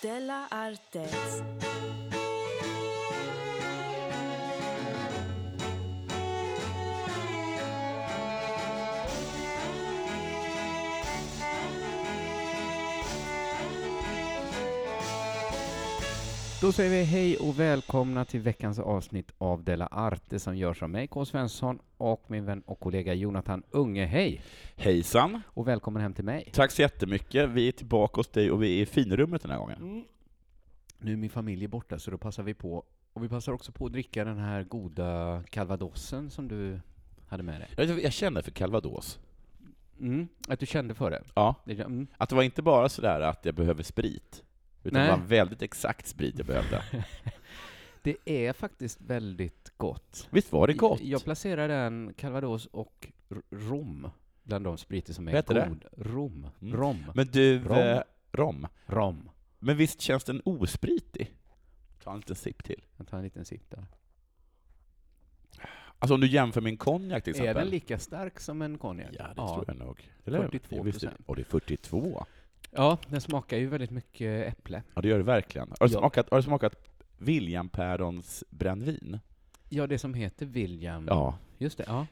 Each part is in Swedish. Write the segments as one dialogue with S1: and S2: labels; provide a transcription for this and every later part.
S1: Della Artes.
S2: Då säger vi hej och välkomna till veckans avsnitt av Della Arte som görs av mig, K. Svensson, och min vän och kollega Jonathan Unge. Hej!
S3: Hejsan!
S2: Och välkommen hem till mig.
S3: Tack så jättemycket. Vi är tillbaka hos dig och vi är i finrummet den här gången.
S2: Nu är min familj borta, så då passar vi på. Och vi passar också på att dricka den här goda calvadosen som du hade med dig.
S3: Jag, vet inte, jag kände för calvados.
S2: Mm, att du kände för det.
S3: Ja.
S2: Det- Mm.
S3: Att det var inte bara sådär att jag behöver sprit, utan
S2: Nej.
S3: det var väldigt exakt sprit jag behövde.
S2: Det är faktiskt väldigt gott.
S3: Visst var det gott?
S2: Jag placerar den, calvados och r- rom, bland de spriter som är
S3: Vad heter det?
S2: god. Rom.
S3: Mm.
S2: Rom.
S3: Men du,
S2: Rom.
S3: rom. Eh, rom.
S2: Rom.
S3: Men visst känns den ospritig? Ta en liten sipp till.
S2: Jag tar en liten sipp där.
S3: Alltså om du jämför med en konjak till
S2: Är
S3: exempel.
S2: den lika stark som en konjak?
S3: Ja, det tror jag nog.
S2: 42%.
S3: Visst, Och det är 42.
S2: Ja, den smakar ju väldigt mycket äpple.
S3: Ja, det gör det verkligen. Har du
S2: Ja.
S3: smakat, har du smakat William Pärons brännvin?
S2: Ja, det som heter William.
S3: Ja,
S2: Just det, ja.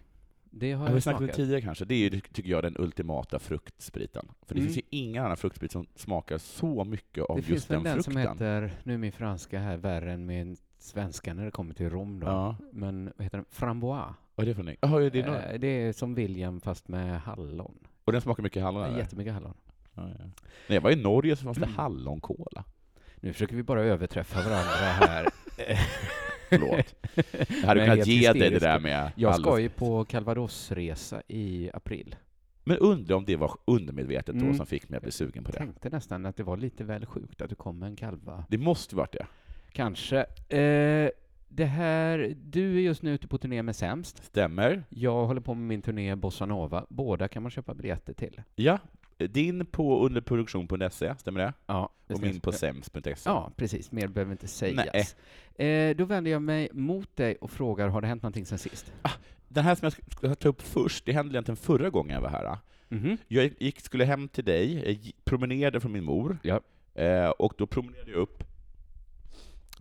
S2: Det har
S3: Ja, vi
S2: jag
S3: snackade
S2: smakat.
S3: om tidigare kanske, det är ju, tycker jag, den ultimata fruktspriten. För det
S2: Mm.
S3: finns ju ingen annan fruktsprit som smakar så mycket av
S2: det
S3: just
S2: finns väl
S3: den,
S2: den som
S3: frukten.
S2: heter, nu är min franska här värre än min svenska när det kommer till Rom då.
S3: Ja,
S2: Men vad heter den? Frambois.
S3: vad är det för någonting? Jaha, är det någon?
S2: Eh, det är som William fast med hallon.
S3: Och den smakar mycket hallon? eller?
S2: Jättemycket hallon.
S3: Ja, ja. När jag var i Norge så fanns
S2: Mm.
S3: det hallonkola.
S2: Nu försöker vi bara överträffa varandra här.
S3: Förlåt. Jag hade
S2: Men
S3: kunnat
S2: helt
S3: ge dig det
S2: hysterisk.
S3: där med
S2: Jag
S3: hallon.
S2: ska ju på Calvadosresa i april.
S3: Men undrar om det var undermedvetet då
S2: Mm.
S3: som fick mig att bli sugen på det.
S2: Tänkte nästan att det var lite väl sjukt att du kom med en kalva.
S3: Det måste ju varit det.
S2: Kanske. Eh, det här, du är just nu ute på turné med Sämst.
S3: Stämmer.
S2: Jag håller på med min turné Bossa Nova. Båda kan man köpa biljetter till.
S3: Ja. Din på underproduktion.se, E, stämmer det?
S2: Ja, det
S3: Och
S2: stämmer.
S3: min på sems.se.
S2: Ja, precis. Mer behöver inte sägas.
S3: Nej.
S2: Eh, då vänder jag mig mot dig och frågar, har det hänt någonting sen sist?
S3: Den här som jag ska ta upp först, det hände egentligen förra gången jag var här.
S2: Mhm.
S3: Jag gick, skulle hem till dig, jag gi- promenerade från min mor,
S2: Ja.
S3: eh, och då promenerade jag upp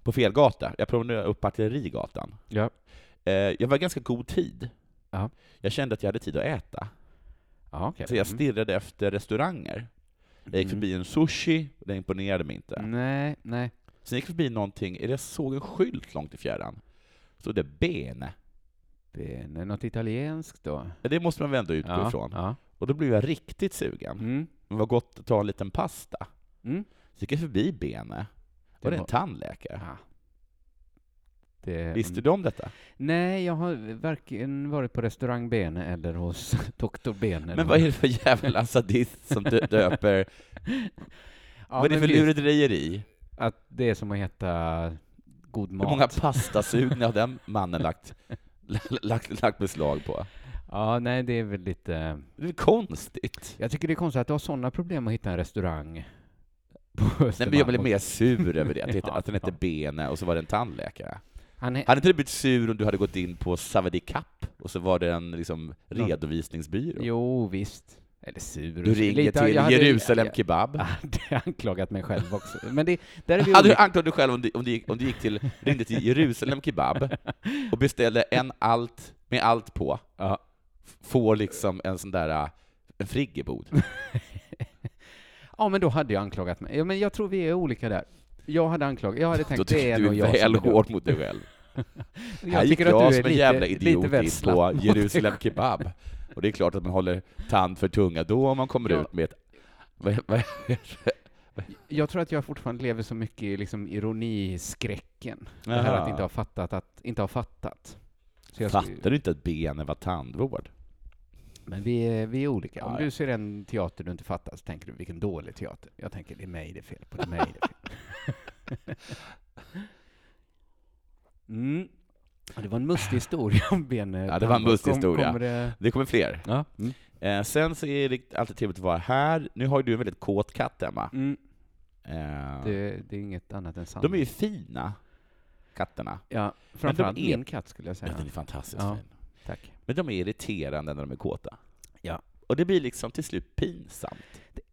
S3: på fel gata. Jag promenerade upp Artillerigatan.
S2: Ja.
S3: Eh, jag var i ganska god tid.
S2: Ja.
S3: Jag kände att jag hade tid att äta,
S2: Ja, okej.
S3: så jag
S2: Mm.
S3: stirrade efter restauranger. Jag gick förbi en sushi, den imponerade mig inte.
S2: Mm. Nej, nej.
S3: Sen gick jag förbi någonting, eller jag såg en skylt långt i fjärran. Så det bene.
S2: Bene. Något italienskt då?
S3: Det måste man väl ändå utgå ifrån.
S2: Ja.
S3: Och då blev jag riktigt sugen.
S2: Mm.
S3: Det var gott att ta en liten pasta.
S2: Mm.
S3: Så gick jag förbi Bene. Var det en tandläkare?
S2: Ja. Det,
S3: Visste du om detta?
S2: Nej, jag har varken varit på restaurang Bene eller hos doktor Bene.
S3: Men vad är det för jävla sadist som dö- döper...
S2: ja,
S3: vad är det
S2: men
S3: för
S2: visst,
S3: lurendrejeri?
S2: Att det är som att heta god
S3: Hur
S2: mat.
S3: många pastasugningar har den mannen lagt, lagt, lagt beslag på?
S2: Ja, nej, det är väl lite...
S3: Det är konstigt.
S2: Jag tycker det är konstigt att du har sådana problem att hitta en restaurang på
S3: Nej,
S2: Östermalm.
S3: men jag blev mer sur över det, att, det hette,
S2: Ja,
S3: att den hette
S2: ja.
S3: Bene och så var det en tandläkare.
S2: Han är...
S3: Hade inte du blivit sur om du hade gått in på Savadi Cup och så var det en liksom, redovisningsbyrå?
S2: Jo, visst. Eller sur.
S3: Du ringer
S2: Lite-
S3: till
S2: jag hade-
S3: Jerusalem
S2: Jag,
S3: Kebab.
S2: jag hade anklagat mig själv också. Men det, där är vi
S3: Hade du
S2: olika.
S3: anklagat dig själv om du, om du, gick, om du gick till, ringde till Jerusalem Kebab och beställde en allt, med allt på,
S2: Ja.
S3: f- får liksom en sån där, äh, en friggebod.
S2: Ja, men då hade jag anklagat mig. Ja, men jag tror vi är olika där. Jag hade anklagat, jag hade
S3: Då
S2: tänkt det
S3: tycker
S2: är
S3: du
S2: nog
S3: är
S2: jag som
S3: väl
S2: är dum.
S3: hård mot dig själv. Här
S2: Jag
S3: gick
S2: tycker att
S3: jag
S2: du
S3: som
S2: är
S3: en
S2: lite,
S3: jävla
S2: lite
S3: idiot
S2: väl
S3: in
S2: slapp
S3: på
S2: mot dig
S3: Jerusalem Kebab. Och det är klart att man håller tand för tunga då om man kommer
S2: Ja.
S3: ut med ett... Vad, vad,
S2: Jag tror att jag fortfarande lever så mycket i liksom ironiskräcken. Det här
S3: Jaha.
S2: att inte ha fattat att inte ha fattat. Så jag-
S3: Fattar du inte att benen var tandvård?
S2: Men vi är, vi är olika. Om
S3: Ja,
S2: du ser en teater du inte fattar så tänker du vilken dålig teater. Jag tänker det är mig det är fel på, det är mig det är fel på. mm. Ja, Det var en mustig historia om Bene.
S3: Ja, det var en
S2: Tandvård.
S3: mustig
S2: Kom-
S3: historia.
S2: kommer det...
S3: Det kommer fler.
S2: ja. mm.
S3: Eh, sen så är det alltid trevligt att vara här. Nu har ju du en väldigt kåt katt, Emma.
S2: Mm.
S3: Eh,
S2: Det, det är inget annat än sant.
S3: De är ju fina, katterna.
S2: Ja, framförallt
S3: är-
S2: min katt skulle jag
S3: Ja. Den
S2: säga.
S3: är fantastiskt
S2: Ja.
S3: fin.
S2: Tack.
S3: Men de är irriterande när de är kåta.
S2: Ja.
S3: Och det blir liksom till slut pinsamt.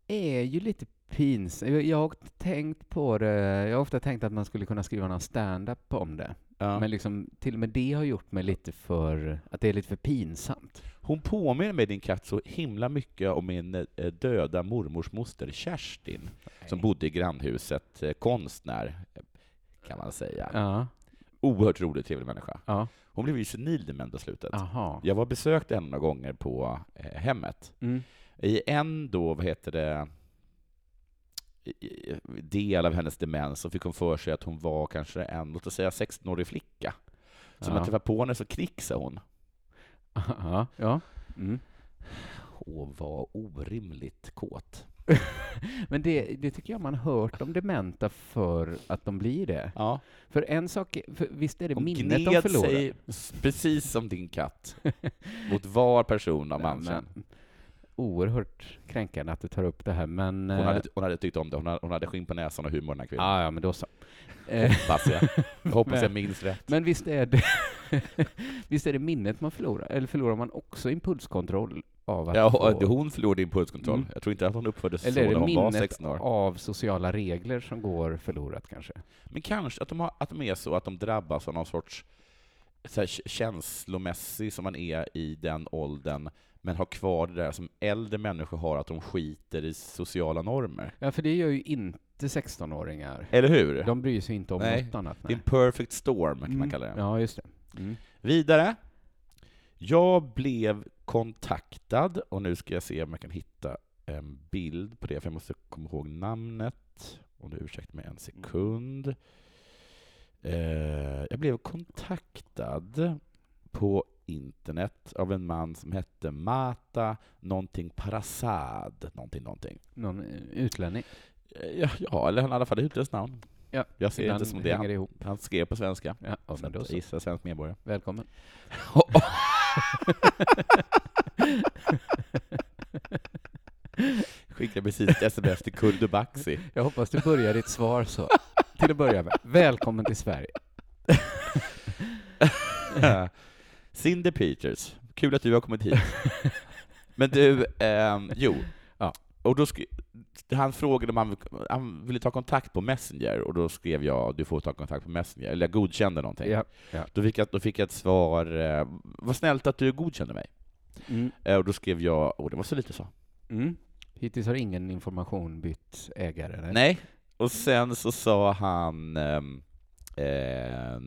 S2: är ju lite pinsamt. Jag, jag har tänkt på det. Jag har ofta tänkt att man skulle kunna skriva någon stand-up om det.
S3: Ja.
S2: Men liksom, till och med det har gjort mig lite för... Att det är lite för pinsamt.
S3: Hon påminner mig, din katt, så himla mycket om min eh, döda mormors moster Kerstin, som bodde i grannhuset, eh, konstnär, eh, kan man säga.
S2: Ja.
S3: Oerhört rolig, trevlig människa.
S2: Ja.
S3: Hon blev ju senil den på slutet.
S2: Aha.
S3: Jag var besökt henne några gånger på eh, hemmet.
S2: Mm.
S3: I en då, vad heter det, i- i- del av hennes demens så fick hon för sig att hon var kanske en, låt oss säga 16-årig flicka. Så när
S2: Ja.
S3: man träffade på henne så knixade hon.
S2: Ja. ja. Mm.
S3: Hon var orimligt kåt.
S2: Men det, det tycker jag man hört om dementa för att de blir det.
S3: Ja.
S2: För en sak, är- för visst är det
S3: Hon
S2: minnet de
S3: gned
S2: förlorar?
S3: sig s- precis som din katt mot var person av
S2: Ja,
S3: manchen.
S2: men Oerhört kränkande att du tar upp det här, men...
S3: Hon
S2: eh,
S3: hade, typ- hon hade tyckt om det. Hon hade, hon hade skinn på näsan och humor den här kvinnan.
S2: ja, ja, men då så. Eh,
S3: Hoppas jag. jag hoppas jag minns rätt.
S2: men visst är, det visst är det minnet man förlorar? Eller förlorar man också impulskontroll av att
S3: Ja,
S2: få,
S3: och hon förlorade impulskontroll.
S2: Mm.
S3: Jag tror inte att hon uppfördes så
S2: Eller är
S3: när
S2: det
S3: hon var
S2: minnet
S3: 16 år.
S2: av sociala regler som går förlorat kanske?
S3: Men kanske att de, har, att de är så att de drabbas av någon sorts så här, k- känslomässig som man är i den åldern, men har kvar det där som äldre människor har, att de skiter i sociala normer.
S2: Ja, för det gör ju inte 16-åringar.
S3: Eller hur?
S2: De bryr sig inte om
S3: Nej,
S2: något annat.
S3: det är
S2: Nej.
S3: en perfect storm, kan man
S2: Mm,
S3: kalla det.
S2: Ja, just det. Mm.
S3: Vidare. Jag blev kontaktad, och nu ska jag se om jag kan hitta en bild på det, för jag måste komma ihåg namnet. Om du ursäktar
S2: Mm.
S3: mig en sekund. Eh, jag blev kontaktad på internet av en man som hette Mata någonting Parasad, någonting, någonting.
S2: Någon eh, utlänning.
S3: Eh, Ja, ja eller han har i alla fall ett utländskt namn.
S2: Ja,
S3: jag ser
S2: Ibland
S3: inte som det.
S2: hänger
S3: Han,
S2: ihop.
S3: han skrev på svenska.
S2: Ja, ja,
S3: Så
S2: men då
S3: att
S2: så.
S3: jag gissar svensk medborgare.
S2: Välkommen.
S3: Skickade precis ett sms till Kurdo Baxi.
S2: Jag hoppas du börjar ditt svar så. Till att börja med. Välkommen till Sverige.
S3: Cinder Peters, kul att du har kommit hit. Men du, ehm, jo.
S2: Ja.
S3: Och då skri- han frågade om han, han ville ta kontakt på Messenger, och då skrev jag du får ta kontakt på Messenger, eller jag godkände någonting.
S2: Ja.
S3: Då, fick jag, då fick jag ett svar, eh, vad snällt att du godkände mig.
S2: Mm.
S3: Eh, och då skrev jag, och det var så lite så.
S2: Mm. Hittills har ingen information bytt ägare. eller?
S3: Nej. Och sen så sa han ehm, eh,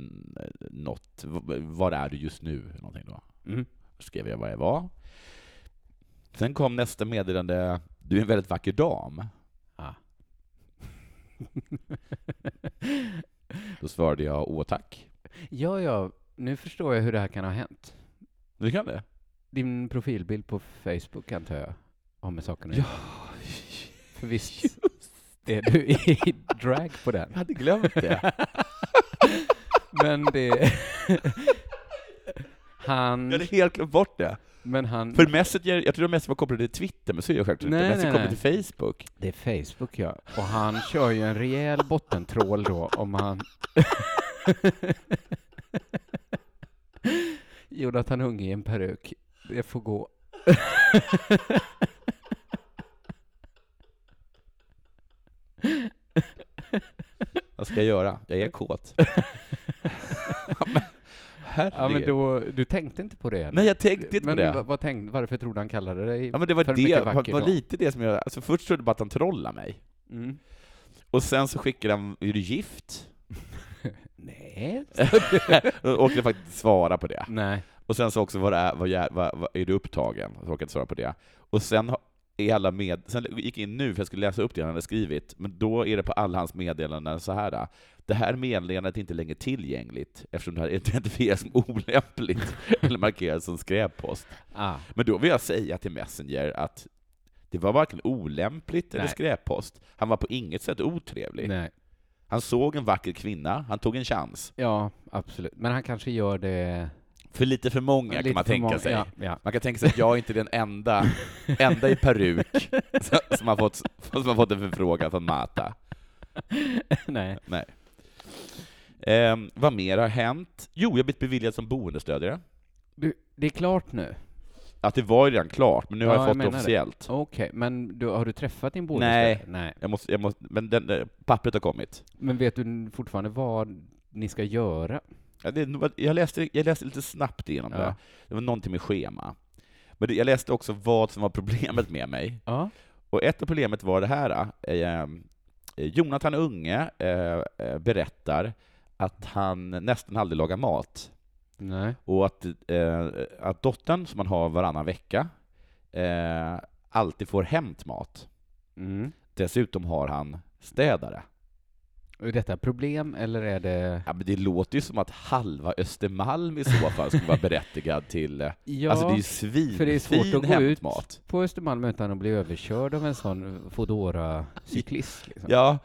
S3: något, v- var är du just nu? Någonting då.
S2: Mm.
S3: skrev jag vad jag var. Sen kom nästa meddelande, du är en väldigt vacker dam.
S2: Ah.
S3: Då svarade jag, åh tack.
S2: Ja, ja, nu förstår jag hur det här kan ha hänt.
S3: Du kan det?
S2: Din profilbild på Facebook antar jag har med saken att
S3: Ja.
S2: göra. För visst är du i drag på den.
S3: Jag hade glömt det.
S2: Men det... Han...
S3: Jag hade helt glömt bort det.
S2: Men han...
S3: För Messenger, jag trodde Messenger var kopplad till Twitter, men så är jag självklart
S2: Nej,
S3: inte. Messenger
S2: nej,
S3: kopplat till Facebook.
S2: Det är Facebook, ja. Och han kör ju en rejäl bottentrål då om han... Jonathan Unge i en peruk. Det får gå.
S3: Vad ska jag göra? Jag är kåt. Men, Herregud.
S2: Ja, men då, du tänkte inte på det? eller?
S3: Nej, jag tänkte inte
S2: men
S3: på det.
S2: vad- vad tänkte, varför trodde han kallade dig?
S3: Ja, men det var,
S2: för
S3: det,
S2: mycket
S3: var,
S2: vacker
S3: var
S2: då.
S3: lite det som jag... Alltså först trodde jag bara att han trollade mig.
S2: Mm.
S3: Och sen så skickade han, är du gift?
S2: Nej.
S3: Och orkade faktiskt svara på det.
S2: Nej.
S3: Och sen så också, vad är, vad är, vad, vad, är du upptagen? Så orkade jag inte svara på det. Och sen ha- är alla med, sen gick jag in nu för jag skulle läsa upp det han hade skrivit, men då är det på alla hans meddelanden så här. Det här meddelandet är inte längre tillgängligt eftersom det här identifieras som olämpligt eller markeras som skräppost.
S2: Ah.
S3: Men då vill jag säga till Messenger att det var varken olämpligt eller
S2: Nej.
S3: skräppost. Han var på inget sätt otrevlig.
S2: Nej.
S3: Han såg en vacker kvinna, han tog en chans.
S2: Ja, absolut. Men han kanske gör det...
S3: För lite för många
S2: lite
S3: kan man
S2: för
S3: tänka
S2: många-
S3: sig.
S2: Ja, ja.
S3: Man kan tänka sig att jag inte är den enda, enda i peruk som- som har, fått, som har fått en förfrågan från Mata.
S2: Nej.
S3: Ehm, vad mer har hänt? Jo, jag har blivit beviljad som boendestödjare.
S2: Du, det är klart nu.
S3: att det var ju redan klart, men nu har
S2: Ja,
S3: jag
S2: jag
S3: fått det
S2: menar det.
S3: officiellt.
S2: Okej, men du, har du träffat din bonus?
S3: Nej.
S2: Nej.
S3: Jag måste, jag måste, men den, eh, pappret har kommit.
S2: Men vet du fortfarande vad ni ska göra?
S3: Ja, det, är nog att- jag, läste, jag läste lite snabbt igenom
S2: Ja.
S3: det. Det var någonting med schema. Men det, jag läste också vad som var problemet med mig.
S2: Ja.
S3: Och ett av problemet var det här. Eh, eh, Jonathan Unge eh, eh, berättar att han nästan aldrig lagar mat.
S2: Nej.
S3: Och att, eh, att dottern, som man har varannan vecka, eh, alltid får hämt mat.
S2: Mm.
S3: Dessutom har han städare.
S2: Är detta ett problem eller är det...
S3: Ja, men det låter ju som att halva Östermalm i så fall skulle vara berättigad till... eh,
S2: Ja,
S3: alltså det är ju svin,
S2: för det är svårt
S3: fin
S2: att gå ut
S3: hämtmat.
S2: på Östermalm utan att bli överkörd av en sån Foodora-cyklist. Liksom.
S3: Ja,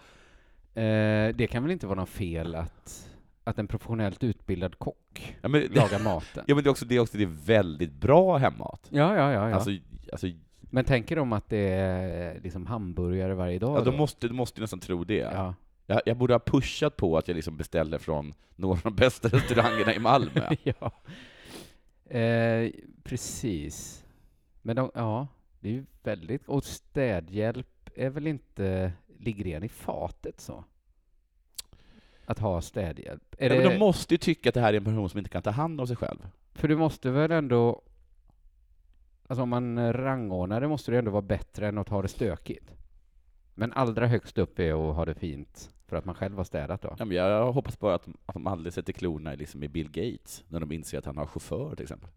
S2: Eh, det kan väl inte vara något fel att, att en professionellt utbildad kock
S3: ja, men,
S2: lagar maten?
S3: ja, men det är också det, är också, det är väldigt bra hemmat.
S2: Ja, ja, ja. ja.
S3: Alltså, alltså,
S2: men tänker de att det är liksom hamburgare varje dag?
S3: ja, de
S2: då?
S3: måste, de måste ju nästan tro det.
S2: ja.
S3: Jag, jag borde ha pushat på att jag liksom beställde från några av de bästa restaurangerna i Malmö.
S2: ja. Eh, precis. Men de, ja, det är ju väldigt... Och städhjälp är väl inte... Ligger redan i fatet så? Att ha städhjälp? Är
S3: Ja, men
S2: det-
S3: de måste ju tycka att det här är en person som inte kan ta hand om sig själv.
S2: För du måste väl ändå... Alltså om man rangordnar det måste det ändå vara bättre än att ha det stökigt. Men allra högst upp är att ha det fint, för att man själv har städat då.
S3: Ja, men jag hoppas bara att de, att de aldrig sätter klorna i liksom i Bill Gates, när de inser att han har chaufför till exempel.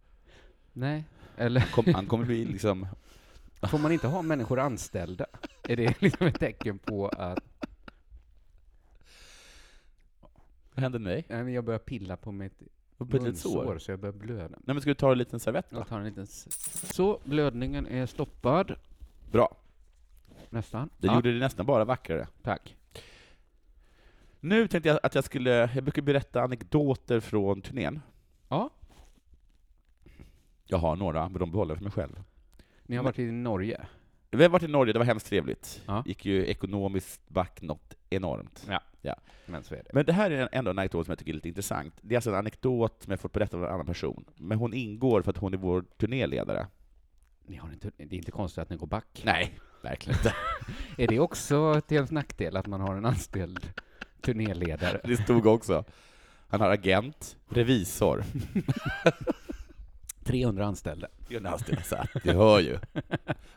S2: Nej. Eller
S3: Kom, han kommer bli liksom
S2: får man inte ha människor anställda? Är det liksom ett tecken på att...
S3: Vad hände med dig?
S2: Nej, men jag börjar pilla på mitt
S3: Upp ett litet sår?
S2: munsår så jag börjar blöda.
S3: Nej men ska du ta en liten servett då?
S2: Jag tar en liten... s- Så, blödningen är stoppad.
S3: Bra.
S2: Nästan.
S3: Det
S2: Ja,
S3: gjorde det nästan bara vackrare.
S2: Tack.
S3: Nu tänkte jag att jag skulle, jag brukar berätta anekdoter från turnén.
S2: Ja.
S3: Jag har några, men de behåller jag för mig själv.
S2: Ni har varit i Norge?
S3: Vi har varit i Norge, det var hemskt trevligt.
S2: Ja.
S3: Gick ju ekonomiskt back något enormt.
S2: Ja.
S3: ja.
S2: Men så är det.
S3: Men det här är ändå en anekdot som jag tycker är lite intressant. Det är alltså en anekdot som jag fått berätta av en annan person, men hon ingår för att hon är vår turnéledare.
S2: Ni har inte, det är inte konstigt att ni går back.
S3: Nej, verkligen inte.
S2: Är det också till ens nackdel att man har en anställd turnéledare?
S3: Det stod också. Han har agent, revisor,
S2: 300 anställda.
S3: Det är nasty, alltså. Du hör ju.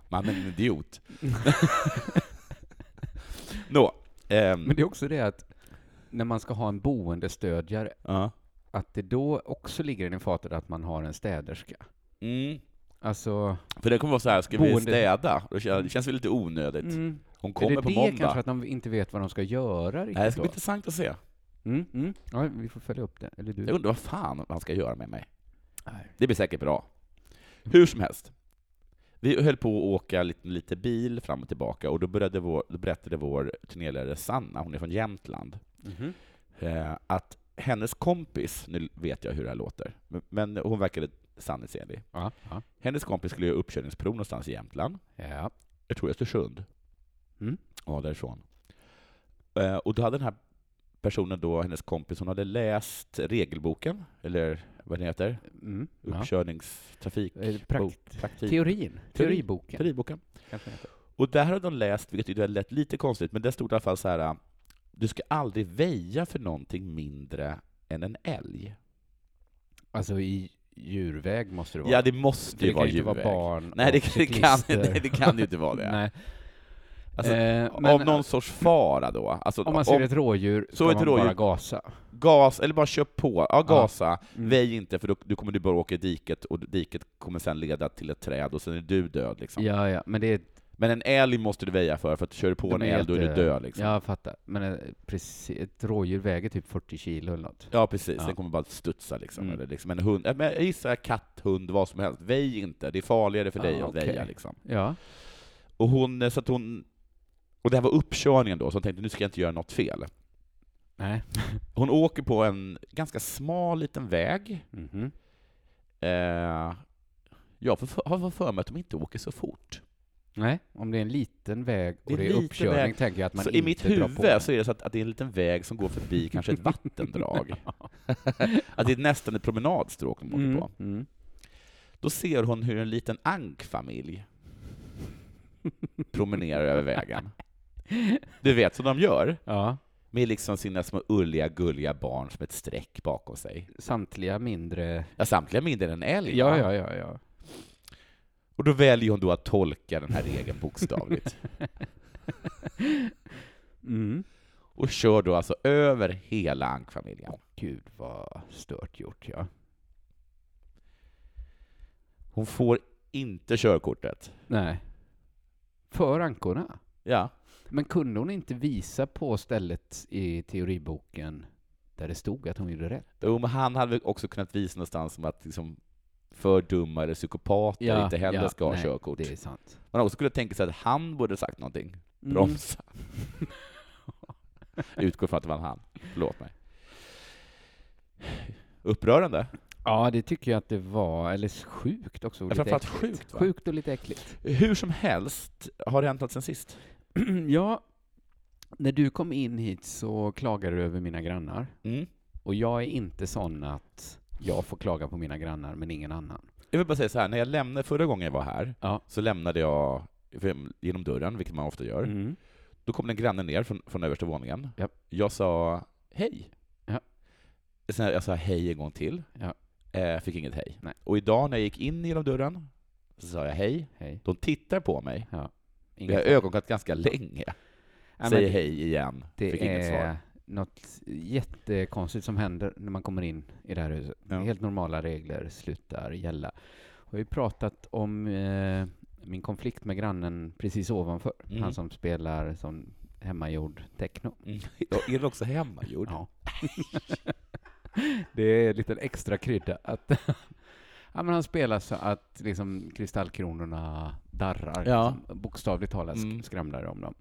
S3: Mannen är en idiot. Nå. ehm,
S2: Men det är också det att när man ska ha en boendestödjare,
S3: ja.
S2: att det då också ligger i fatet att man har en städerska.
S3: mm.
S2: Alltså,
S3: För det kommer vara så här, ska vi
S2: Boende-
S3: städa? Då känns- Det känns väl lite onödigt.
S2: mm,
S3: Hon
S2: är
S3: kommer
S2: det
S3: på
S2: det
S3: måndag.
S2: kanske att de inte vet vad de ska göra riktigt
S3: Nej, det ska bli
S2: då?
S3: intressant att se.
S2: Mm, mm. Ja, vi får följa upp det. Eller
S3: Jag
S2: du?
S3: undrar vad fan han ska göra med mig.
S2: Nej.
S3: Det blir säkert bra. Hur som helst. Vi höll på att åka lite, lite bil fram och tillbaka och då, började vår, då berättade vår turnéledare Sanna, hon är från Jämtland,
S2: Mhm.
S3: eh, att hennes kompis, nu vet jag hur det här låter, men- men hon verkade sanningsenlig.
S2: Ja, ja.
S3: Hennes kompis skulle göra uppkörningsprov någonstans i Jämtland,
S2: ja.
S3: jag tror i Östersund.
S2: Mm.
S3: Ja, därifrån. Eh, Och då hade den här personen då, hennes kompis, hon hade läst regelboken, eller vad den heter,
S2: Mm. ja.
S3: uppkörningstrafik,
S2: Är det prakt-
S3: bok- praktik,
S2: Teorin. Teoriboken.
S3: teoriboken.
S2: Kanske heter.
S3: Och där hade de läst, vilket ju lät lite konstigt, men det stod i alla fall så här, du ska aldrig väja för någonting mindre än en älg.
S2: Alltså i djurväg måste det vara.
S3: Ja, det måste
S2: För
S3: ju
S2: det
S3: vara
S2: kan ju inte
S3: djurväg.
S2: vara barn
S3: nej, det,
S2: och
S3: det, kan,
S2: cyklister.
S3: nej, det kan ju inte vara det.
S2: Nej.
S3: Alltså,
S2: Eh,
S3: Av
S2: men
S3: någon sorts fara då. Alltså,
S2: om man ser ett rådjur
S3: så
S2: ska
S3: ett
S2: man bara
S3: rådjur-
S2: gasa.
S3: gas, eller bara kör på. Ja, gasa.
S2: Mm.
S3: Väj inte, för då, då kommer du bara åka i diket, och diket kommer sen leda till ett träd, och sen är du död. Liksom.
S2: Ja, ja, men det är...
S3: Men en älg måste du väja för, för att kör du på
S2: De
S3: en
S2: är
S3: älg, då är du
S2: jätte-
S3: död. Liksom. Ja.
S2: Jag fattar. Men eh, precis, ett rådjur väger typ 40 kilo eller något.
S3: precis.
S2: Ja.
S3: Den kommer bara att studsa. Liksom.
S2: Mm.
S3: Eller, liksom. En hund, äh, men jag gissar katt, hund, vad som helst. Väj inte, det är farligare för
S2: Ah,
S3: dig att
S2: okej.
S3: väja. Liksom.
S2: Ja.
S3: Och hon, eh, så att hon... Och det här var uppkörningen då, så hon tänkte nu ska jag inte göra något fel.
S2: Nej.
S3: Hon åker på en ganska smal liten väg.
S2: Mhm.
S3: Eh, jag får för- har fått för mig att de inte åker så fort.
S2: Nej, om det är en liten väg
S3: Det är
S2: och det är
S3: liten
S2: uppkörning
S3: väg.
S2: tänker jag att man
S3: Så
S2: inte
S3: i mitt
S2: drar på.
S3: huvud så är det så att, att det är en liten väg som går förbi kanske ett vattendrag. att det är nästan ett promenadstråk de åker
S2: mm.
S3: på.
S2: Mm.
S3: Då ser hon hur en liten ankfamilj promenerar över vägen. Du vet, som de gör,
S2: Ja.
S3: med liksom sina små ulliga, gulliga barn som ett streck bakom sig.
S2: Samtliga mindre...
S3: Ja, samtliga mindre än en älg. va?
S2: Ja, ja, ja, ja.
S3: Och då väljer hon då att tolka den här regeln bokstavligt.
S2: Mm.
S3: och kör då alltså över hela ankfamiljen.
S2: Gud vad stört gjort, ja.
S3: Hon får inte körkortet.
S2: Nej. För ankorna?
S3: Ja.
S2: Men kunde hon inte visa på stället i teoriboken där det stod att hon gjorde rätt?
S3: Jo, men han hade väl också kunnat visa någonstans som att liksom fördummade psykopater inte heller ska ha
S2: nej,
S3: körkort.
S2: Det är sant.
S3: Man också skulle tänka sig att han borde sagt någonting.
S2: Mm.
S3: Bromsa. Jag Utgår från att det var han. Förlåt mig. Upprörande.
S2: Ja, det tycker jag att det var. Eller sjukt också. och
S3: Ja,
S2: lite
S3: framförallt
S2: äckligt.
S3: sjukt, va?
S2: Sjukt och lite äckligt.
S3: Hur som helst, har det hänt något sen sist?
S2: ja, när du kom in hit så klagade du över mina grannar.
S3: Mm.
S2: Och jag är inte sån att jag får klaga på mina grannar, men ingen annan.
S3: Jag vill bara säga så här, när jag lämnade förra gången jag var här,
S2: Ja.
S3: så lämnade jag genom dörren, vilket man ofta gör.
S2: Mm.
S3: Då kom den grannen ner från, från översta våningen.
S2: Ja.
S3: Jag sa hej.
S2: Ja.
S3: Sen jag sa hej en gång till.
S2: Ja.
S3: Eh, fick inget hej.
S2: Nej.
S3: Och idag när jag gick in genom dörren så sa jag hej.
S2: Hej.
S3: De tittar på mig. Vi
S2: Inga
S3: har
S2: frågor.
S3: ögonkontakt ganska länge.
S2: Ja, men
S3: Säger hej igen.
S2: Det
S3: fick
S2: är
S3: inget svar.
S2: något jättekonstigt som händer när man kommer in i det här huset.
S3: Ja.
S2: Helt normala regler slutar gälla. Och vi har ju pratat om eh, min konflikt med grannen precis ovanför.
S3: Mm.
S2: Han som spelar som hemmagjord techno.
S3: Mm. Ja, Är den också hemmagjord?
S2: Ja. det är lite extra krydda. Att ja, men han spelar så att liksom, kristallkronorna darrar.
S3: Ja.
S2: Liksom, bokstavligt talat sk-
S3: Mm.
S2: skramlar det om dem.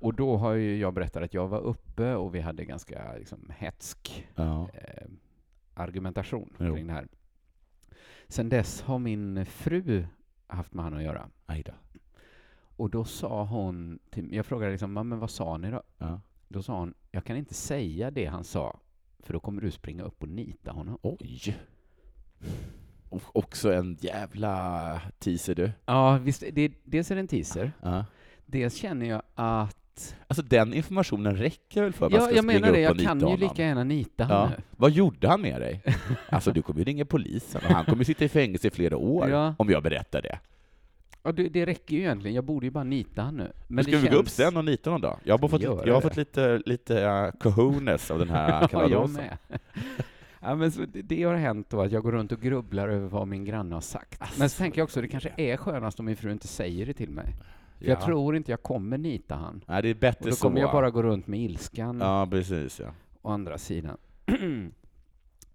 S2: Och då har ju jag berättat att jag var uppe och vi hade ganska liksom, hätsk
S3: Ja.
S2: eh, argumentation
S3: Jo.
S2: kring det här. Sen dess har min fru haft med han att göra.
S3: Aj då.
S2: Och då sa hon, till, jag frågade liksom, "Ja, men vad sa ni då?
S3: Ja.
S2: Då sa hon, jag kan inte säga det han sa, för då kommer du springa upp och nita honom.
S3: Oj. Och också en jävla teaser du.
S2: Ja, visst, det, dels är det en teaser,
S3: Ja.
S2: dels känner jag att...
S3: Alltså den informationen räcker väl för att man
S2: Ja,
S3: ska
S2: jag
S3: springa
S2: menar det,
S3: upp
S2: jag
S3: och nita
S2: kan ju
S3: honom?
S2: lika gärna nita
S3: Ja.
S2: honom.
S3: Vad gjorde han med dig? Alltså du kommer ju ringa polisen och han kommer ju sitta i fängelse i flera år
S2: Ja.
S3: om jag berättar det.
S2: Och det, det räcker ju egentligen, jag borde ju bara nita honom nu. Men
S3: Men ska
S2: det
S3: vi gå upp sen och nita någon dag? Jag har, bara
S2: Ska
S3: fått,
S2: vi göra
S3: jag har
S2: det?
S3: fått lite, lite eh, cojones av den här
S2: Ja, jag
S3: kaladosen.
S2: med. Ja, men så det, det har hänt då att jag går runt och grubblar över vad min granne har sagt.
S3: Alltså,
S2: men så tänker jag också, det kanske är skönast om min fru inte säger det till mig. För jag
S3: Ja.
S2: tror inte jag kommer nita han.
S3: Nej, det är
S2: Och
S3: bättre
S2: då
S3: så.
S2: kommer jag bara gå runt med ilskan
S3: Ja, precis. Ja.
S2: å andra sidan.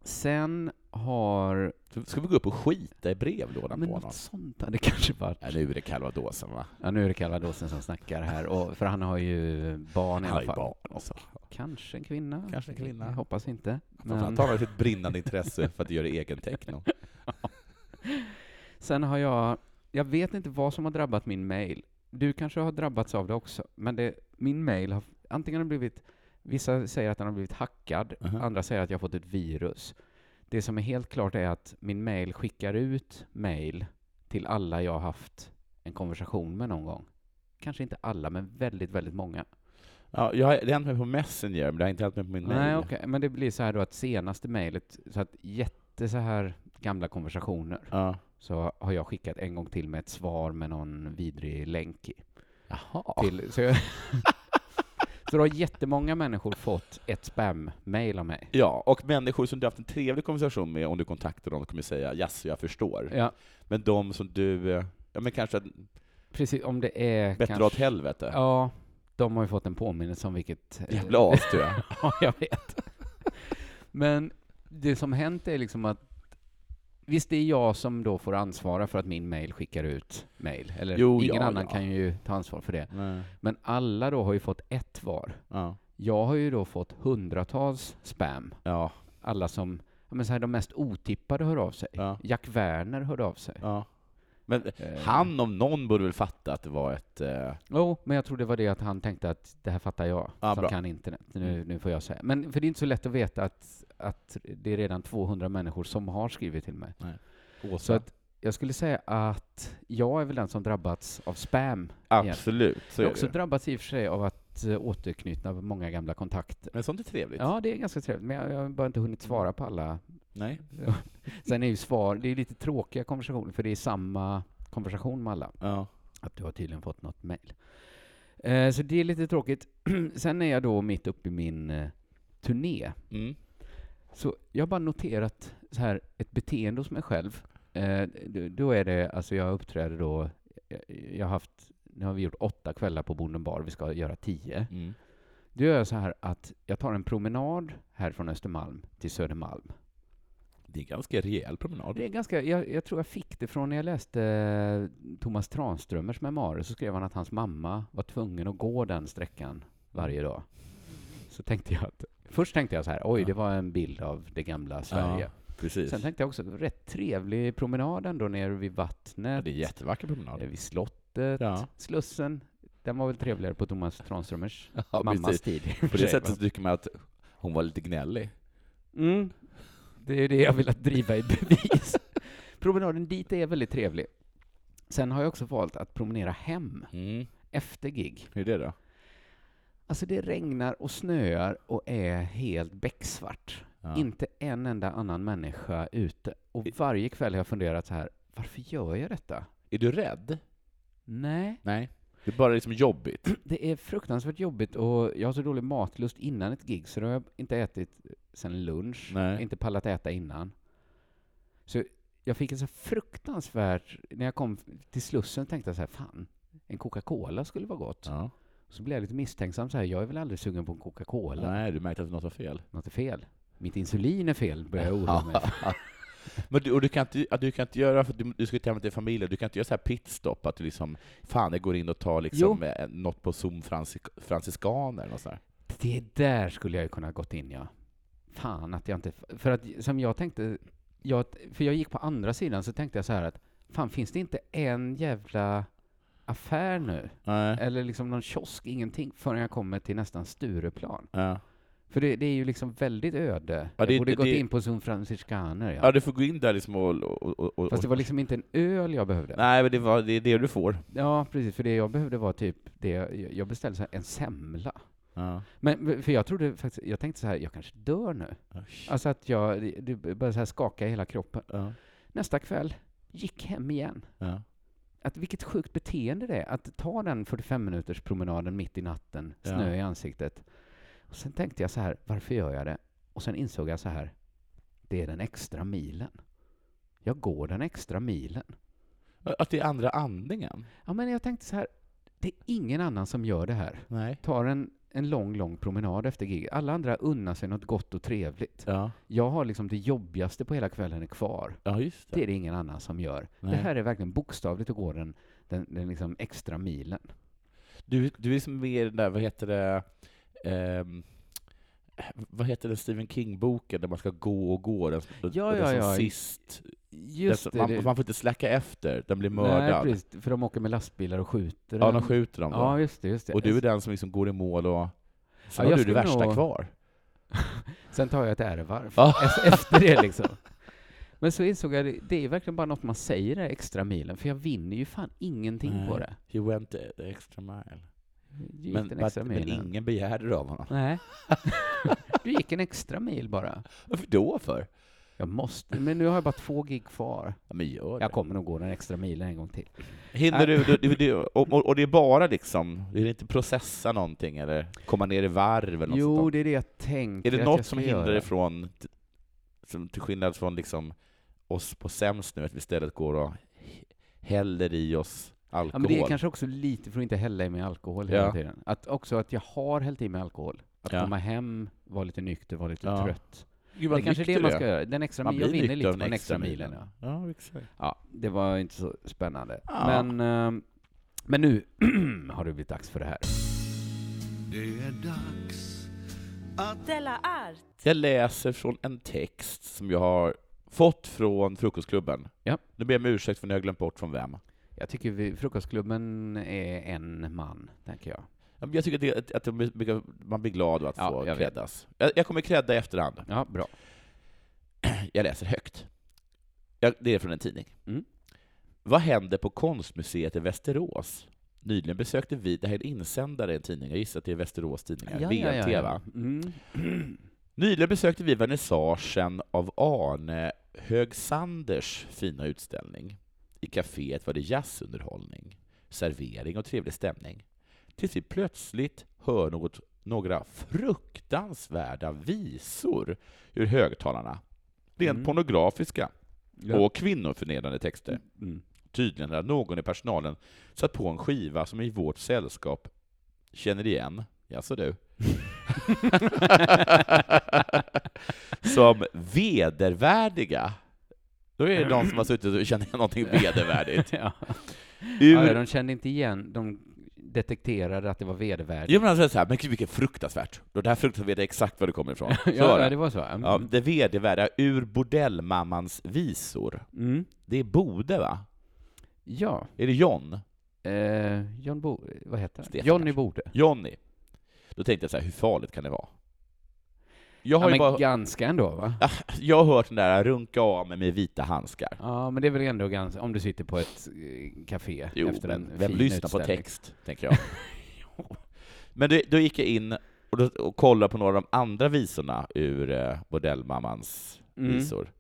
S2: Sen har...
S3: Så Ska vi gå upp och skita i brevlådan
S2: Men
S3: på
S2: något
S3: honom?
S2: sånt hade kanske varit...
S3: Ja, nu är det calvadosen va?
S2: Ja, nu är det Calvadosen som snackar här, och, för han har ju barn i
S3: Han har
S2: alla
S3: ju
S2: fall.
S3: barn
S2: Och
S3: och så.
S2: Kanske en kvinna.
S3: Kanske en kvinna.
S2: Jag hoppas inte.
S3: Men...
S2: Men
S3: Han har sitt brinnande intresse för att göra egen techno.
S2: sen har jag... Jag vet inte vad som har drabbat min mail. Du kanske har drabbats av det också, men det, min mail har antingen har blivit... Vissa säger att den har blivit hackad,
S3: Mhm.
S2: andra säger att jag har fått ett virus. Det som är helt klart är att min mail skickar ut mail till alla jag har haft en konversation med någon gång. Kanske inte alla, men väldigt, väldigt många.
S3: Ja, jag har, det har hänt mig på Messenger, men det har inte hänt mig på min
S2: Nej,
S3: mail.
S2: okej, Men det blir så här då att senaste mejlet, så att jätte så här gamla konversationer,
S3: Ja.
S2: så har jag skickat en gång till med ett svar med någon vidrig länk i.
S3: Jaha.
S2: Till, så, jag, så då har jättemånga människor fått ett spam-mail av mig.
S3: Ja, och människor som du haft en trevlig konversation med, om du kontaktar dem, kommer säga ”jaså, jag förstår”.
S2: Ja,
S3: Men de som du, eh, ja men kanske att
S2: precis. Om det är...
S3: bättre
S2: kanske-
S3: åt helvete.
S2: Ja, de har ju fått en påminnelse om vilket...
S3: Jävla as du är.
S2: Ja, jag vet. Men det som hänt är liksom att Visst, det är jag som då får ansvara för att min mail skickar ut mail. Eller
S3: Jo,
S2: ingen
S3: ja,
S2: annan
S3: ja.
S2: kan ju ta ansvar för det.
S3: Nej.
S2: Men alla då har ju fått ett var.
S3: Ja.
S2: Jag har ju då fått hundratals spam.
S3: Ja.
S2: Alla som, ja, men så här, de mest otippade hör av sig.
S3: Ja.
S2: Jack Werner hörde av sig.
S3: ja. Men
S2: Eh,
S3: han om någon borde väl fatta att det var ett... eh,
S2: Jo, men jag tror det var det att han tänkte att det här fattar jag
S3: Ja,
S2: som
S3: bra. Mm.
S2: kan internet. Nu, nu får jag säga. Men för det är inte så lätt att veta att, att det är redan 200 människor som har skrivit till mig.
S3: Åsa.
S2: Så att jag skulle säga att jag är väl den som drabbats av spam.
S3: Absolut, så
S2: Jag
S3: är
S2: har också
S3: det ju.
S2: drabbats i och för sig av att eh, återknyta många gamla kontakter.
S3: Men sånt är trevligt.
S2: Ja, det är ganska trevligt, men jag, jag har bara inte hunnit svara på alla.
S3: Nej.
S2: Sen är ju svar, det är lite tråkiga konversationer, för det är samma konversation med alla.
S3: Ja.
S2: Att du har tydligen fått något mejl. Eh, så det är lite tråkigt. Sen är jag då mitt uppe i min eh, turné.
S3: Mm.
S2: Så jag har bara noterat så här, ett beteende hos mig själv. Eh, d- då är det, alltså jag uppträder då, jag, jag har haft, nu har vi gjort åtta kvällar på Bonden bar, vi ska göra tio.
S3: Mm.
S2: Då gör jag så här att jag tar en promenad här från Östermalm till Södermalm.
S3: Det är en ganska rejäl promenad.
S2: Det är ganska, jag, jag tror jag fick det från när jag läste eh, Thomas Tranströmers memoarer, så skrev han att hans mamma var tvungen att gå den sträckan varje dag. Så tänkte jag att, först tänkte jag så här, oj,
S3: Ja.
S2: det var en bild av det gamla Sverige.
S3: Precis.
S2: Sen tänkte jag också, rätt trevlig promenad ändå nere vid
S3: ja,
S2: vattnet,
S3: det är en jättevacker promenad.
S2: eh, vid slottet,
S3: Ja.
S2: Slussen. Den var väl trevligare på Thomas Tranströmers
S3: Ja,
S2: mammas
S3: precis.
S2: tid.
S3: På det sättet så tycker man att hon var lite gnällig.
S2: Mm. Det är det jag vill att driva i bevis. Promenaden dit är väldigt trevlig. Sen har jag också valt att promenera hem
S3: Mm.
S2: efter gig.
S3: Hur är det då?
S2: Alltså det regnar och snöar och är helt becksvart.
S3: Ja.
S2: Inte en enda annan människa ute. Och varje kväll har jag funderat så här, varför gör jag detta?
S3: Är du rädd?
S2: Nej,
S3: Nej. Det är bara liksom jobbigt.
S2: Det är fruktansvärt jobbigt och jag har så dålig matlust innan ett gig så då har jag inte ätit sen lunch,
S3: Nej.
S2: inte pallat äta innan. Så jag fick en så fruktansvärt, när jag kom till Slussen tänkte jag så här, fan, en Coca-Cola skulle vara gott.
S3: Ja.
S2: Så blev jag lite misstänksam så här, jag är väl aldrig sugen på en Coca-Cola?
S3: Nej, du märkte att något var fel.
S2: Något är fel. Mitt insulin är fel, börjar jag oroa mig. för.
S3: Men du, och du, kan inte, ja, du kan inte göra, för du, du ska ju till hem till familjen, du kan inte göra så här pitstop, att du liksom, fan jag går in och tar liksom, eh, något på Zoom francis, franciskaner eller något sånt där.
S2: Det där skulle jag ju kunna gått in, ja. Fan att jag inte... För att som jag tänkte... Jag, för jag gick på andra sidan så tänkte jag så här att fan, finns det inte en jävla affär nu?
S3: Nej.
S2: Eller liksom någon kiosk, ingenting, förrän jag kommer till nästan Stureplan.
S3: Ja.
S2: För det, det är ju liksom väldigt öde.
S3: Ja, det-
S2: jag borde
S3: det-
S2: gått
S3: det-
S2: in på Zoom Franciscaner, ja.
S3: ja, du får gå in där liksom och... och, och, och
S2: Fast det var liksom inte en öl jag behövde.
S3: Nej, men det, var, det är det du får.
S2: Ja, precis. För det jag behövde var typ det... Jag jag beställde så här, en semla.
S3: Ja.
S2: Men för jag trodde faktiskt... Jag tänkte så här, jag kanske dör nu. Alltså att jag det- det började så här skaka i hela kroppen.
S3: Ja.
S2: Nästa kväll, gick hem igen.
S3: Ja.
S2: Att vilket sjukt beteende det är att ta den 45 minuters promenaden mitt i natten,
S3: Ja.
S2: snö i ansiktet. Och sen tänkte jag så här, varför gör jag det? Och sen insåg jag så här, det är den extra milen. Jag går den extra milen.
S3: Att det är andra andningen?
S2: Ja, men jag tänkte så här, det är ingen annan som gör det här.
S3: Nej.
S2: Tar en, en lång, lång promenad efter gig. Alla andra unnar sig något gott och trevligt.
S3: Ja,
S2: Jag har liksom det jobbigaste på hela kvällen kvar.
S3: ja just
S2: Det
S3: det.
S2: är det ingen annan som gör.
S3: Nej.
S2: Det här är verkligen bokstavligt att gå den, den, den liksom extra milen.
S3: Du, du är som med i den där, vad heter det, ehm, vad heter den Stephen King-boken där man ska gå och gå, den, den,
S2: Ja,
S3: den
S2: ja,
S3: som
S2: ja.
S3: sist.
S2: Just
S3: den, som- man, man får inte släcka efter, den blir mördad.
S2: Nej, precis, för de åker med lastbilar och skjuter.
S3: ja,
S2: den.
S3: de skjuter dem då.
S2: Ja, just det. Just det.
S3: och du är den som liksom går i mål och
S2: Ja,
S3: Sen har
S2: jag
S3: du det
S2: skulle
S3: värsta
S2: nog-
S3: kvar.
S2: Sen tar jag ett ärevarv
S3: Ja.
S2: e- efter det liksom. Men så insåg jag, det, det är verkligen bara något man säger det här extra milen, för jag vinner ju fan ingenting på
S3: Nej.
S2: det.
S3: He went the extra mile.
S2: Du gick
S3: Men,
S2: den
S3: but-
S2: extra
S3: men
S2: milen.
S3: ingen begärde det av honom.
S2: Nej. Du gick en extra mil bara.
S3: Varför då för?
S2: Jag måste, men nu har jag bara två gig kvar.
S3: Ja, men gör det.
S2: Jag kommer nog gå den extra milen en gång till.
S3: Hinner du, du, du, du och, och- och det är bara liksom, du vill inte processa någonting eller komma ner i varv eller något
S2: Jo,
S3: sånt
S2: det är det jag tänkte
S3: där? Är det
S2: att
S3: något
S2: jag ska
S3: som hindrar
S2: göra.
S3: dig från, som till skillnad från liksom oss på sämst nu, att vi istället går och häller i oss
S2: Ja,
S3: alkohol?
S2: men det är kanske också lite för att inte hälla i mig alkohol hela
S3: Ja.
S2: tiden. Att också att jag har hällt i mig alkohol. Att
S3: Ja.
S2: komma hem, vara lite nykter, vara lite
S3: Ja.
S2: trött.
S3: Gud,
S2: Det
S3: vad
S2: är kanske är det
S3: nykter
S2: man
S3: du
S2: ska
S3: är.
S2: göra. Den extra
S3: Man
S2: milen, jag
S3: blir
S2: vinner
S3: nykter
S2: lite
S3: av
S2: på den extra milen. Ja.
S3: Ja, exakt.
S2: ja, det var inte så spännande.
S3: Ja.
S2: Men, ehm, men nu har det blivit dags för det här.
S4: Det är dags att
S1: Della Art.
S3: Jag läser från en text som jag har fått från Frukostklubben.
S2: Ja.
S3: Nu ber jag om ursäkt för nu har jag glömt bort från vem.
S2: Jag tycker vi, Frukostklubben är en man, tänker jag.
S3: Ja, men Jag tycker att, det, att- att de brukar- man blir glad av att
S2: Ja,
S3: få
S2: jag vet.
S3: creddas. Jag, jag kommer credda i efterhand.
S2: Ja, bra.
S3: Jag läser högt. Jag, det är från en tidning.
S2: Mm.
S3: Vad händer på konstmuseet i Västerås? Nyligen besökte vi, det här är en insändare i en tidning, jag gissar att det är Västerås Tidningar, VMT va?
S2: Mm.
S3: Nyligen besökte vi vernissagen av Arne Högsanders fina utställning. I kaféet var det jazzunderhållning, servering och trevlig stämning. Tills vi plötsligt hör något, några fruktansvärda visor ur högtalarna. Rent
S2: Mm.
S3: pornografiska
S2: Ja.
S3: och kvinnoförnedrande texter.
S2: Mm.
S3: Tydligen hade någon i personalen satt på en skiva som i vårt sällskap känner igen. Jaså du? som vedervärdiga. Då är det någon som har suttit och känner igen någonting vedervärdigt.
S2: ja. Ja,
S3: Ur...
S2: de kände inte igen, de detekterade att det var vedervärdigt.
S3: Jag menar så här, men gud vilket fruktansvärt. Och det här fruktansvärda är exakt var det kommer ifrån. Så var
S2: Ja,
S3: det.
S2: ja, det var så. Mm.
S3: Ja, det vedervärdiga ur bordellmammans visor.
S2: Mm.
S3: Det är Bode va?
S2: Ja,
S3: Är det John?
S2: eh, John Bo... Vad heter han?
S3: Stefan
S2: Johnny
S3: kanske.
S2: Bode.
S3: Johnny. Då tänkte jag så här, hur farligt kan det vara? Jag har
S2: Ja,
S3: ju
S2: men
S3: bara,
S2: ganska ändå, va?
S3: jag har hört den där runka av mig med vita handskar.
S2: Ja, men det är väl ändå ganska... Om du sitter på ett eh, café
S3: Jo,
S2: efter en
S3: men vem
S2: fin
S3: lyssnar på
S2: utställning.
S3: text, tänker jag. men det, då gick jag in och, då, och kollade på några av de andra visorna ur eh, Bordellmammans
S2: Mm.
S3: visor.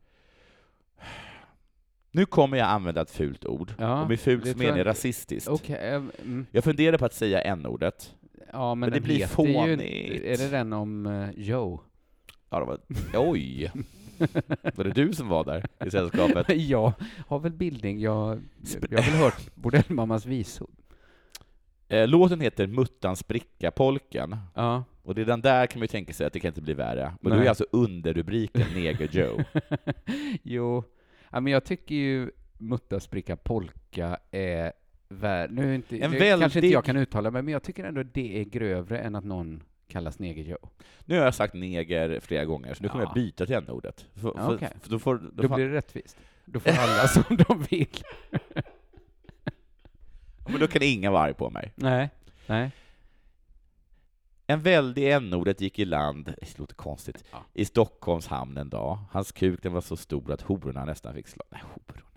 S3: Nu kommer jag använda ett fult ord,
S2: Ja,
S3: och med
S2: det
S3: fult
S2: tror jag
S3: menar jag
S2: inte.
S3: rasistiskt.
S2: Okej, eh, mm.
S3: Jag funderar på att säga n-ordet.
S2: ja men,
S3: Men det
S2: den
S3: blir
S2: heter ju...
S3: fånigt.
S2: Är det den om eh, Joe?
S3: Ja, det var, oj! Var det du som var där i sällskapet?
S2: jag har väl bildning, jag, jag har väl hört bordellmammas visor.
S3: Eh, Låten heter Muttan spricka polken
S2: Ja.
S3: och det är den där kan man ju tänka sig att det kan inte bli värre. Men då
S2: Nej.
S3: är alltså underrubriken Neger Joe.
S2: jo, ja, men jag tycker ju mutta, spricka, polka är värd... Nu, är inte,
S3: En
S2: nu
S3: väldig-
S2: kanske inte jag kan uttala mig, men jag tycker ändå det är grövre än att någon kallas negerjoe.
S3: Nu har jag sagt neger flera gånger, så nu kommer
S2: Ja.
S3: jag byta till n-ordet. För-
S2: Ja,
S3: för-
S2: okej.
S3: för Då får, då
S2: Då
S3: fan-
S2: blir det rättvist. Då får alla som de vill.
S3: Ja, men då kan ingen vara arg på mig.
S2: Nej. Nej.
S3: En väldig n-ordet gick i land, det låter konstigt,
S2: Ja.
S3: i Stockholms hamn en dag. Hans kuk den var så stor att hororna nästan fick slå... Nej, hororna.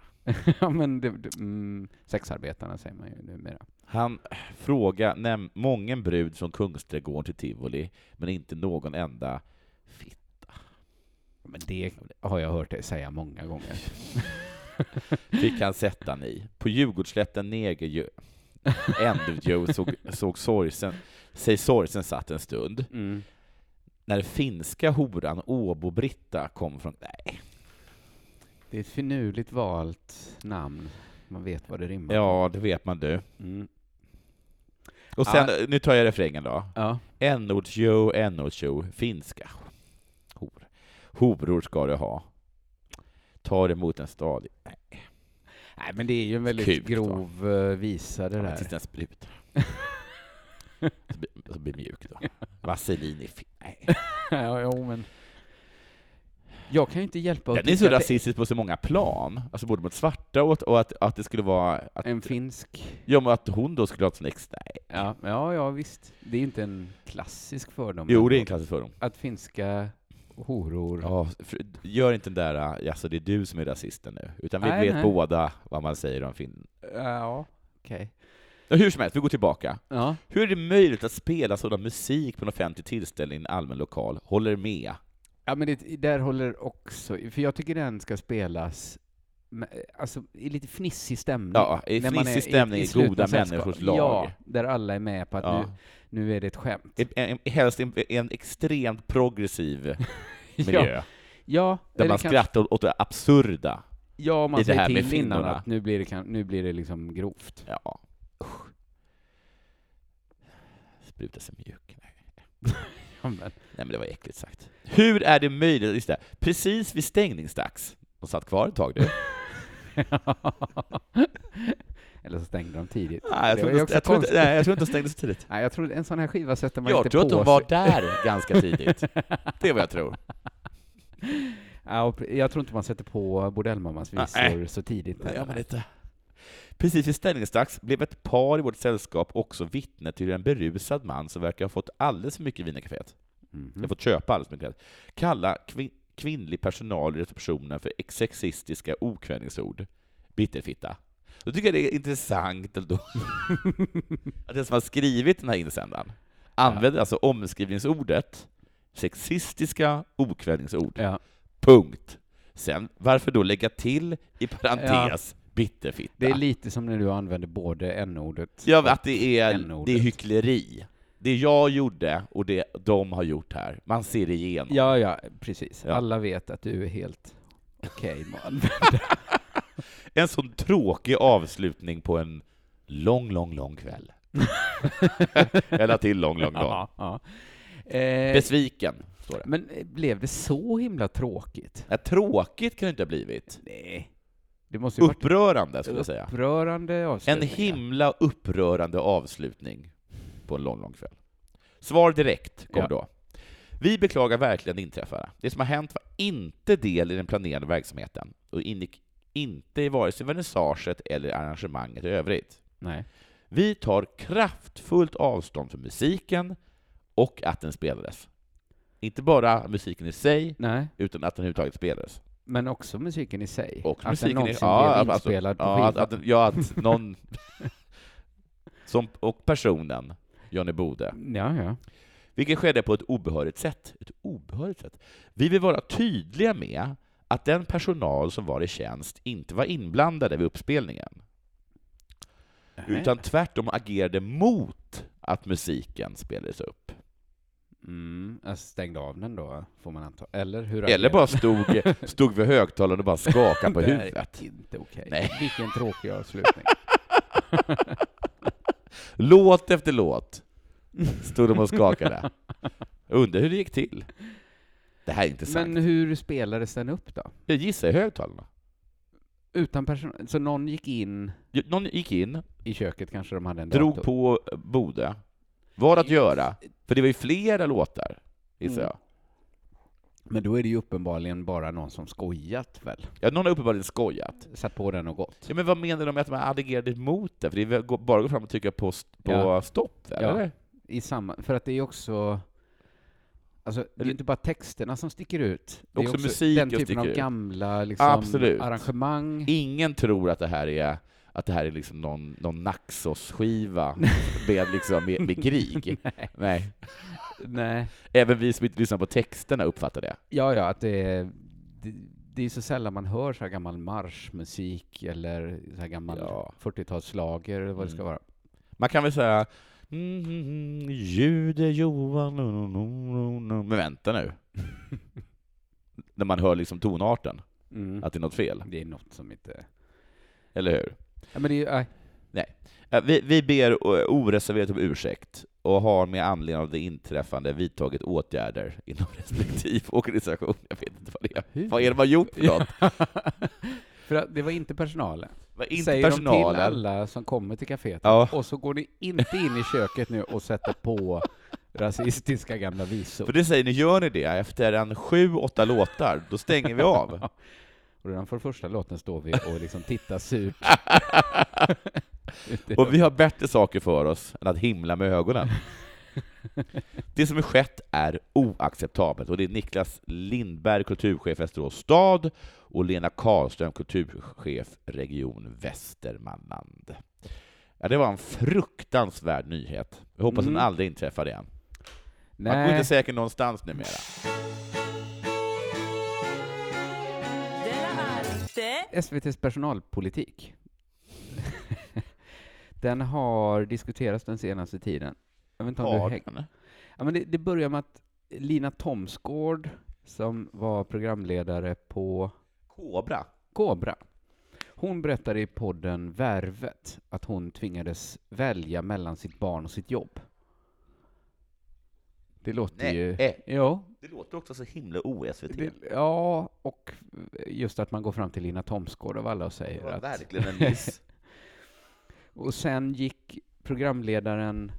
S2: ja, men det, det, mm, sexarbetarna säger man ju numera.
S3: Han fråga näm- mången brud från Kungsträdgården till Tivoli, men inte någon enda fitt.
S2: Men det har jag hört dig säga många gånger.
S3: fick han sätta han i. På Djurgårdsslätten Negerjö Endevjö såg, såg sorgsen, sig sorgsen satt en stund.
S2: Mm.
S3: När finska horan Åbo-Britta kom från... Nej.
S2: Det är ett finurligt valt namn. Man vet vad det rimmar
S3: Ja, det vet man du.
S2: Mm.
S3: Och sen, nu tar jag refrängen då.
S2: Ja.
S3: N-ordsjo, n-ordsjo, finska. Hor. Horor ska du ha. Tar emot en stadig... Nej,
S2: Nej, men det är ju en väldigt
S3: Kul,
S2: grov eh, visa det
S3: ja, men
S2: där.
S3: tills den sprutar. så, blir, så blir det mjukt då. Vaselin i fin... Nej.
S2: ja, jo, men... Jag kan ju inte hjälpa att
S3: Den är så
S2: tycka att
S3: rasistisk på så många plan, alltså både mot svarta och, att- och att, att det skulle vara... Att,
S2: En finsk...
S3: ja, men att hon då skulle ha ett sånt ex... Nej.
S2: Ja, ja, ja, visst. Det är inte en klassisk fördom.
S3: Jo, det är en
S2: men
S3: klassisk fördom.
S2: Att finska horor...
S3: Ja, för- gör inte den där äh, alltså det är du som är rasisten nu”, utan vi
S2: Nej,
S3: vet
S2: nej.
S3: båda vad man säger om fin...
S2: ja. okej.
S3: Ja, Hur som helst, vi går tillbaka.
S2: Ja.
S3: Hur är det möjligt att spela sådan musik på en offentlig tillställning i en allmän lokal? Håller med.
S2: ja, men det, där håller också... För jag tycker den ska spelas med, alltså, i lite fnissig stämning.
S3: Ja, i
S2: När man
S3: fnissig
S2: i-
S3: stämning i
S2: slutna
S3: goda
S2: sällskap.
S3: människors lag.
S2: Ja, där alla är med på att
S3: Ja.
S2: nu, nu är det ett skämt.
S3: En- En, helst en, en extremt progressiv miljö,
S2: Ja, ja
S3: där
S2: eller
S3: man
S2: kanske-
S3: skrattar åt det absurda.
S2: Ja, man
S3: i det
S2: säger
S3: här med
S2: till innan
S3: kvinnorna.
S2: att nu blir det, kan, nu blir det liksom grovt.
S3: Ja. Usch. Spruta sig mjuk. Nej.
S2: Ja, men-
S3: Nej, men det var äckligt sagt. Hur är det möjligt? Just det, precis vid stängningsdags. De satt kvar ett tag, du.
S2: Eller så stängde de tidigt.
S3: Nej, jag
S2: Det
S3: tror
S2: var ju
S3: inte-
S2: också
S3: jag tror inte
S2: konstigt.
S3: nej, jag tror inte de stängde så tidigt.
S2: Nej, jag tror en sån här skiva sätter man
S3: Jag
S2: inte
S3: tror
S2: på
S3: att de var där ganska tidigt. Det är vad jag tror.
S2: Ja, och jag tror inte man sätter på Bordellmammans visor
S3: Nej.
S2: så tidigt.
S3: Det
S2: heller.
S3: gör man inte. Precis vid stängningsdags blev ett par i vårt sällskap också vittne till en berusad man som verkar ha fått alldeles för mycket vin i kaféet.
S2: Mhm.
S3: Jag har fått köpa alldeles mycket. Kalla kvin- kvinnlig personal i receptionen för sexistiska okvädningsord. Bitterfitta. Då tycker jag det är intressant ändå att den som har skrivit den här insändaren använder alltså omskrivningsordet sexistiska okvädningsord.
S2: Ja.
S3: Punkt. Sen, varför då lägga till i parentes bitterfitta?
S2: Det är lite som när du använder både n-ordet
S3: Ja, men att det är, det är
S2: N-ordet.
S3: hyckleri. Det jag gjorde och det de har gjort här, man ser igenom.
S2: Ja, ja, precis.
S3: Ja.
S2: Alla vet att du är helt okej man.
S3: En sån tråkig avslutning på en lång, lång, lång kväll. Jag la till lång, lång, lång.
S2: ja, ja. Eh,
S3: Besviken, står det.
S2: men eh, blev det så himla tråkigt?
S3: Ja, tråkigt kan det inte ha blivit.
S2: Nej. Det måste ju varit
S3: Upprörande, skulle jag säga.
S2: upprörande
S3: En
S2: avslutning.
S3: himla upprörande avslutning på en lång, lång kväll. Svar direkt kom
S2: Ja.
S3: då. Vi beklagar verkligen det inträffade. Det som har hänt var inte del i den planerade verksamheten och ingick inte i vare sig vernissaget eller arrangemanget i övrigt.
S2: Nej.
S3: Vi tar kraftfullt avstånd från musiken och att den spelades. Inte bara musiken i sig,
S2: Nej,
S3: utan att den överhuvudtaget spelades.
S2: men också musiken i sig.
S3: Och
S2: att den
S3: musiken
S2: någonsin
S3: ja,
S2: blev
S3: alltså,
S2: inspelad på
S3: ja,
S2: skiva.
S3: att, att, ja, att någon... som, och personen, Johnny Bode.
S2: Ja, ja.
S3: Vilket skedde på ett obehörigt sätt. Ett obehörigt sätt. Vi vill vara tydliga med att den personal som var i tjänst inte var inblandade vid uppspelningen, utan tvärtom agerade mot att musiken spelades upp.
S2: Mm, jag stängde av den då, får man anta. Eller hur?
S3: Eller bara stod, stod vid högtalaren och bara skakade på
S2: Det här är
S3: huvudet.
S2: Inte okej.
S3: Nej.
S2: Vilken tråkig avslutning.
S3: Låt efter låt stod de och skakade. Undrar hur det gick till. Det här är intressant.
S2: Men hur spelades den upp då?
S3: Jag gissar i högtalarna.
S2: Utan personal? Så någon gick in
S3: Någon gick in,
S2: i köket kanske de hade en
S3: drog
S2: dator?
S3: på Bode. Vad att
S2: Just-
S3: göra? För det var ju flera låtar, gissar
S2: Mm.
S3: jag.
S2: Men då är det ju uppenbarligen bara någon som skojat väl?
S3: Ja, någon har uppenbarligen skojat.
S2: Satt på den och gått.
S3: Ja, men vad menar de med att man agerade emot det? För det är väl gå- bara att gå fram och trycka på, st- på
S2: Ja.
S3: stopp,
S2: Ja.
S3: eller?
S2: I samma, för att det är ju också... Alltså, det är ju inte bara texterna som sticker ut. Det är
S3: Också musiken
S2: den typen
S3: sticker
S2: av
S3: ut.
S2: gamla liksom,
S3: Absolut.
S2: arrangemang.
S3: Ingen tror att det här är att det här är liksom någon, någon Naxos-skiva med, liksom, med, med krig. Nej.
S2: Nej.
S3: Även vi som inte lyssnar på texterna uppfattar det.
S2: Ja, ja, att det är... Det, det är så sällan man hör så här gammal marschmusik eller så här gammal
S3: Ja.
S2: 40-talsschlager eller vad det ska
S3: Mm.
S2: vara.
S3: Man kan väl säga mm, mm, mm, Jude Johan... no, no, no, no, no." Men vänta nu. När man hör liksom tonarten,
S2: Mm.
S3: att det är något fel.
S2: Det är något som inte...
S3: Eller hur?
S2: Ja, men det är, nej.
S3: Eh, Vi, vi ber eh, oreserverat om ursäkt och har med anledning av det inträffande vidtagit åtgärder inom respektive organisation. Jag vet inte vad det är.
S2: Hur?
S3: Vad är det man gjort för något?
S2: För att det var inte personalen.
S3: Vad är Inte
S2: Säger de till
S3: personalen.
S2: alla som kommer till kaféet.
S3: Ja.
S2: Och så går ni inte in i köket nu och sätter på rasistiska gamla
S3: För
S2: visor.
S3: det säger ni, gör ni det efter en sju, åtta låtar, då stänger vi av.
S2: Och redan för första låten står vi och liksom tittar surt. Ut i
S3: Och vi har bättre saker för oss än att himla med ögonen. Det som är skett är oacceptabelt och det är Niklas Lindberg, kulturchef Västerås stad och Lena Karlström, kulturchef Region Västermanland. Ja, det var en fruktansvärd nyhet. Jag hoppas
S2: Mm.
S3: den aldrig inträffar igen. Man går
S2: Nej,
S3: inte säker någonstans numera.
S1: Della Arte.
S2: SVTs personalpolitik. Den har diskuterats den senaste tiden. Jag vet inte om du häng-
S3: Arden.
S2: Ja, men det, det börjar med att Lina Thomsgård, som var programledare på
S3: Kobra.
S2: Kobra, hon berättade i podden Värvet att hon tvingades välja mellan sitt barn och sitt jobb. Det låter ju...
S3: Nej, eh,
S2: Jo,
S3: det låter också så himla o-SVT.
S2: det, ja, och just att man går fram till Lina Thomsgård av alla och
S3: Det
S2: säger
S3: var
S2: att...
S3: verkligen en miss.
S2: Och sen gick programledaren,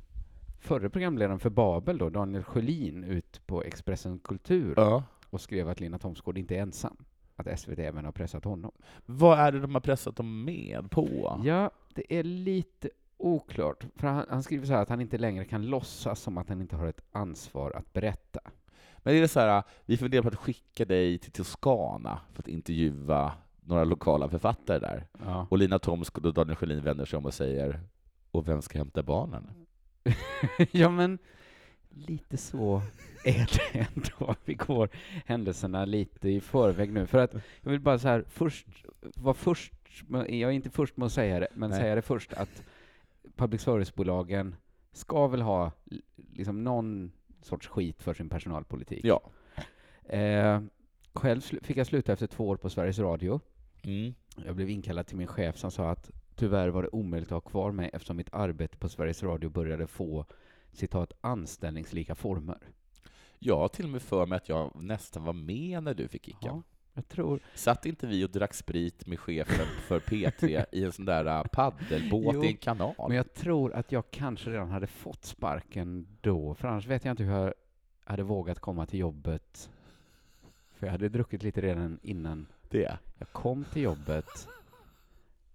S2: förre programledaren för Babel då, Daniel Sjölin, ut på Expressen Kultur
S3: ja.
S2: och skrev att Lina Thomsgård inte är ensam. Att SVT även har pressat honom.
S3: Vad är det de har pressat dem med på?
S2: Ja, det är lite oklart. För han, han skriver så här att han inte längre kan låtsas som att han inte har ett ansvar att berätta.
S3: Men är det så här, vi funderar på att skicka dig till Toscana för att intervjua några lokala författare där.
S2: Ja.
S3: Och Lina Thomsk och Daniel Sjölin vänder sig om och säger och vem ska hämta barnen?
S2: ja, men lite så är det ändå. Vi går händelserna lite i förväg nu. För att jag vill bara så här, först, var först, med- jag är inte först med att säga det, men
S3: Nej.
S2: säga det först att public service-bolagen ska väl ha l- liksom någon sorts skit för sin personalpolitik.
S3: Ja.
S2: Eh, själv sl- fick jag sluta efter två år på Sveriges Radio.
S3: Mm.
S2: Jag blev inkallad till min chef som sa att tyvärr var det omöjligt att ha kvar mig eftersom mitt arbete på Sveriges Radio började få citat anställningslika former.
S3: Jag har till och med för mig att jag nästan var med när du fick kicken.
S2: Ja, jag tror...
S3: Satt inte vi och drack sprit med chefen för P3 i en sån där äh, paddelbåt
S2: Jo,
S3: i en kanal?
S2: Men jag tror att jag kanske redan hade fått sparken då, för annars vet jag inte hur jag hade vågat komma till jobbet. För jag hade druckit lite redan innan
S3: Det?
S2: jag kom till jobbet.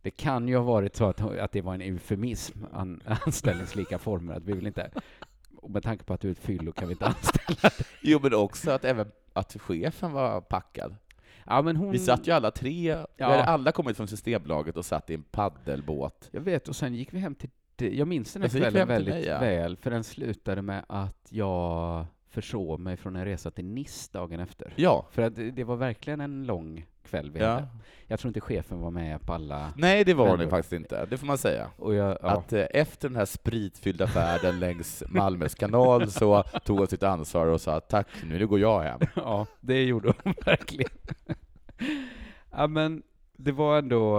S2: Det kan ju ha varit så att, att det var en eufemism, an, anställningslika former, att vi vill inte... Och med tanke på att du är ett fyllo kan vi inte anställa
S3: Jo, men också att även att chefen var packad.
S2: Ja, men hon...
S3: Vi satt ju alla tre, vi
S2: Mm. Ja.
S3: hade alla kommit från Systembolaget och satt i en paddelbåt.
S2: Jag vet, och sen gick vi hem till dig. Jag minns den här
S3: Ja, sen gick vi
S2: kvällen
S3: hem till
S2: väldigt
S3: dig, ja.
S2: väl, för den slutade med att jag försov mig från en resa till Nice dagen efter.
S3: Ja.
S2: För att det det var verkligen en lång kväll vi
S3: ja.
S2: hade. Jag tror inte chefen var med på alla...
S3: Nej, det var
S2: Men
S3: det
S2: då-
S3: faktiskt inte. Det får man säga.
S2: Och jag, ja.
S3: Att eh, efter den här spritfyllda färden längs Malmös kanal så tog hon sitt ansvar och sa tack nu, nu går jag hem.
S2: ja, det gjorde hon verkligen. ja, men det var ändå...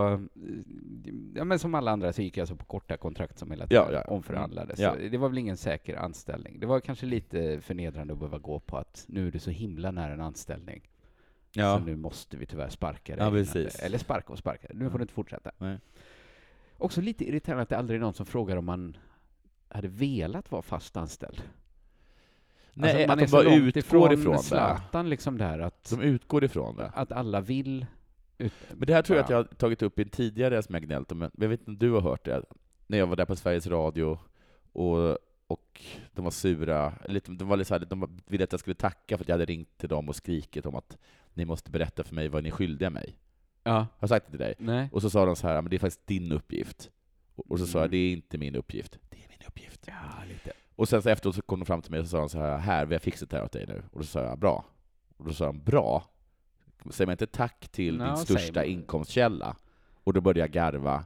S2: Ja, men som alla andra så gick jag alltså på korta kontrakt som hela tiden
S3: Ja, ja.
S2: omförhandlades.
S3: Ja.
S2: Så Det var väl ingen säker anställning. Det var kanske lite förnedrande att behöva gå på att nu är du så himla nära en anställning. Så nu måste vi tyvärr sparka dig.
S3: Ja,
S2: innan
S3: precis.
S2: det- Eller sparka och sparka. Nu får du inte fortsätta.
S3: Nej.
S2: Också lite irriterande att det aldrig är någon som frågar om man hade velat vara fast anställd.
S3: Nej,
S2: Alltså,
S3: att de bara
S2: långt
S3: utgår ifrån det.
S2: Zlatan liksom där att,
S3: De utgår ifrån det.
S2: att alla vill. Ut,
S3: Men det här tror jag
S2: Ja.
S3: att jag har tagit upp i en tidigare som jag gnällt om, men jag vet inte om du har hört det? När jag var där på Sveriges Radio och, och de var sura, eller de, var lite så här, de ville att jag skulle tacka för att jag hade ringt till dem och skrikit om att ni måste berätta för mig vad ni är skyldiga mig.
S2: ja,
S3: Har jag sagt det till dig?
S2: nej.
S3: Och så sa de så här, men det är faktiskt din uppgift. Och och så sa jag,
S2: Mm.
S3: det är inte min uppgift. Det är min uppgift.
S2: Ja, lite.
S3: Och sen så efteråt så kom de fram till mig och så sa de så här, här, vi har fixat det här åt dig nu. Och då sa jag, bra. Och då sa de, bra? Säger man inte tack till
S2: Ja, säger
S3: din största
S2: man.
S3: inkomstkälla? Och då började jag garva.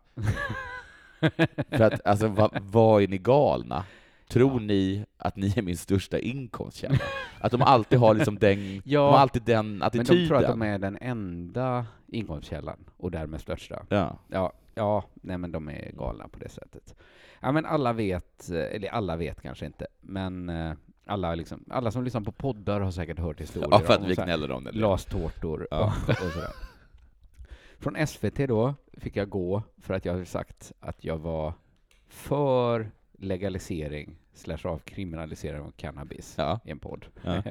S3: För att, alltså, vad, vad är ni galna? Tror
S2: Ja.
S3: ni att ni är min största inkomstkälla? Att de alltid har liksom den,
S2: Ja.
S3: de har alltid den
S2: Men
S3: attityden?
S2: de tror att de är den enda inkomstkällan och därmed största.
S3: Ja.
S2: Ja, ja nej men de är galna på det sättet. Ja men alla vet, eh, eller alla vet kanske inte, men eh, alla, liksom, alla som lyssnar på poddar har säkert hört historier
S3: ja, för att
S2: om
S3: vi
S2: så här
S3: gnäller om det.
S2: glastårtor
S3: Ja.
S2: och, och sådär. Från SVT då fick jag gå för att jag hade sagt att jag var för legalisering slash avkriminalisering av cannabis
S3: Ja.
S2: i en podd.
S3: Ja.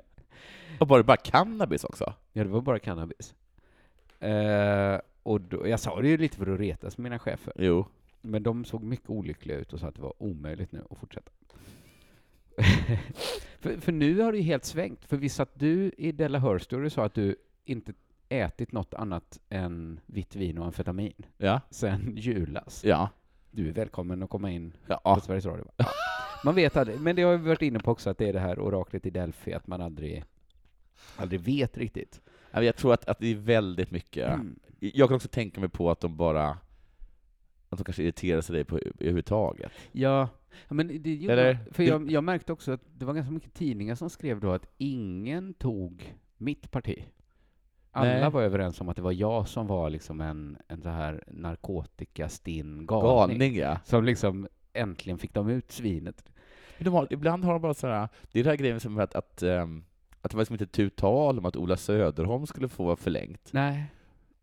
S3: Och var det bara cannabis också?
S2: Ja, det var bara cannabis. Eh, och då, jag sa det ju lite för att retas med mina chefer,
S3: Jo.
S2: men de såg mycket olyckliga ut och sa att det var omöjligt nu att fortsätta. för, för nu har det ju helt svängt, för visst att du i Della Hör Story sa att du inte ätit något annat än vitt vin och amfetamin
S3: Ja.
S2: sen julas.
S3: Ja.
S2: Du är välkommen att komma in
S3: Ja.
S2: på Sveriges Radio. va? Ja. Man vet aldrig, men det har vi varit inne på också, att det är det här oraklet i Delphi, att man aldrig, aldrig vet riktigt.
S3: Ja, men Jag tror att, att det är väldigt mycket.
S2: Mm.
S3: Jag kan också tänka mig på att de bara att de kanske irriterar sig dig på överhuvudtaget.
S2: Ja, ja, men det gjorde
S3: Eller-
S2: för jag, jag märkte också att det var ganska mycket tidningar som skrev då att ingen tog mitt parti. Alla
S3: Nej.
S2: var överens om att det var jag som var liksom en, en så här narkotikastinn galning.
S3: Galning ja.
S2: Som liksom äntligen fick de ut svinet.
S3: Men de har, ibland har de bara sådär, det är den här grejen som att, att, ehm, att det var liksom inte tu tal om att Ola Söderholm skulle få vara förlängt.
S2: Nej.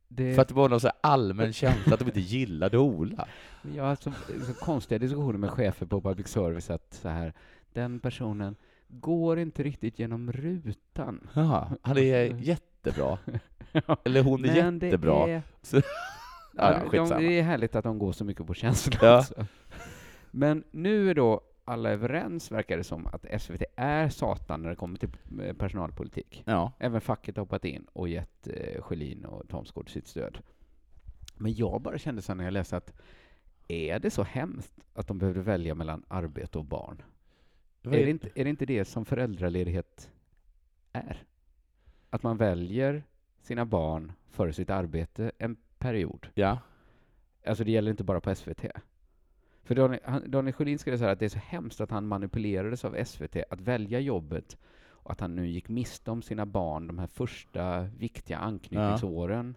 S2: Det,
S3: För att det var någon så här allmän känsla att de inte gillade Ola.
S2: Jag har haft så, så konstiga diskussioner med chefer på public service att så här, den personen går inte riktigt genom rutan.
S3: Ja, han är jättebra. Eller hon är
S2: Men
S3: jättebra.
S2: Det är
S3: Ja, ja,
S2: Ja, de,
S3: skitsamma.
S2: det är härligt att de går så mycket på känslan.
S3: Ja.
S2: Alltså. Men nu är då alla överens, verkar det som, att SVT är satan när det kommer till eh, personalpolitik.
S3: Ja,
S2: Även facket har hoppat in och gett eh, Schelin och Thomsgård sitt stöd. Men jag bara kände så här när jag läste att är det så hemskt att de behövde välja mellan arbete och barn? Är
S3: Eh,
S2: det, inte, är det inte det som föräldraledighet är? Att man väljer sina barn före sitt arbete en period.
S3: Ja.
S2: Alltså det gäller inte bara på SVT. För Daniel, han, Daniel Sjölin skrev så här att det är så hemskt att han manipulerades av SVT att välja jobbet och att han nu gick miste om sina barn de här första viktiga anknytningsåren.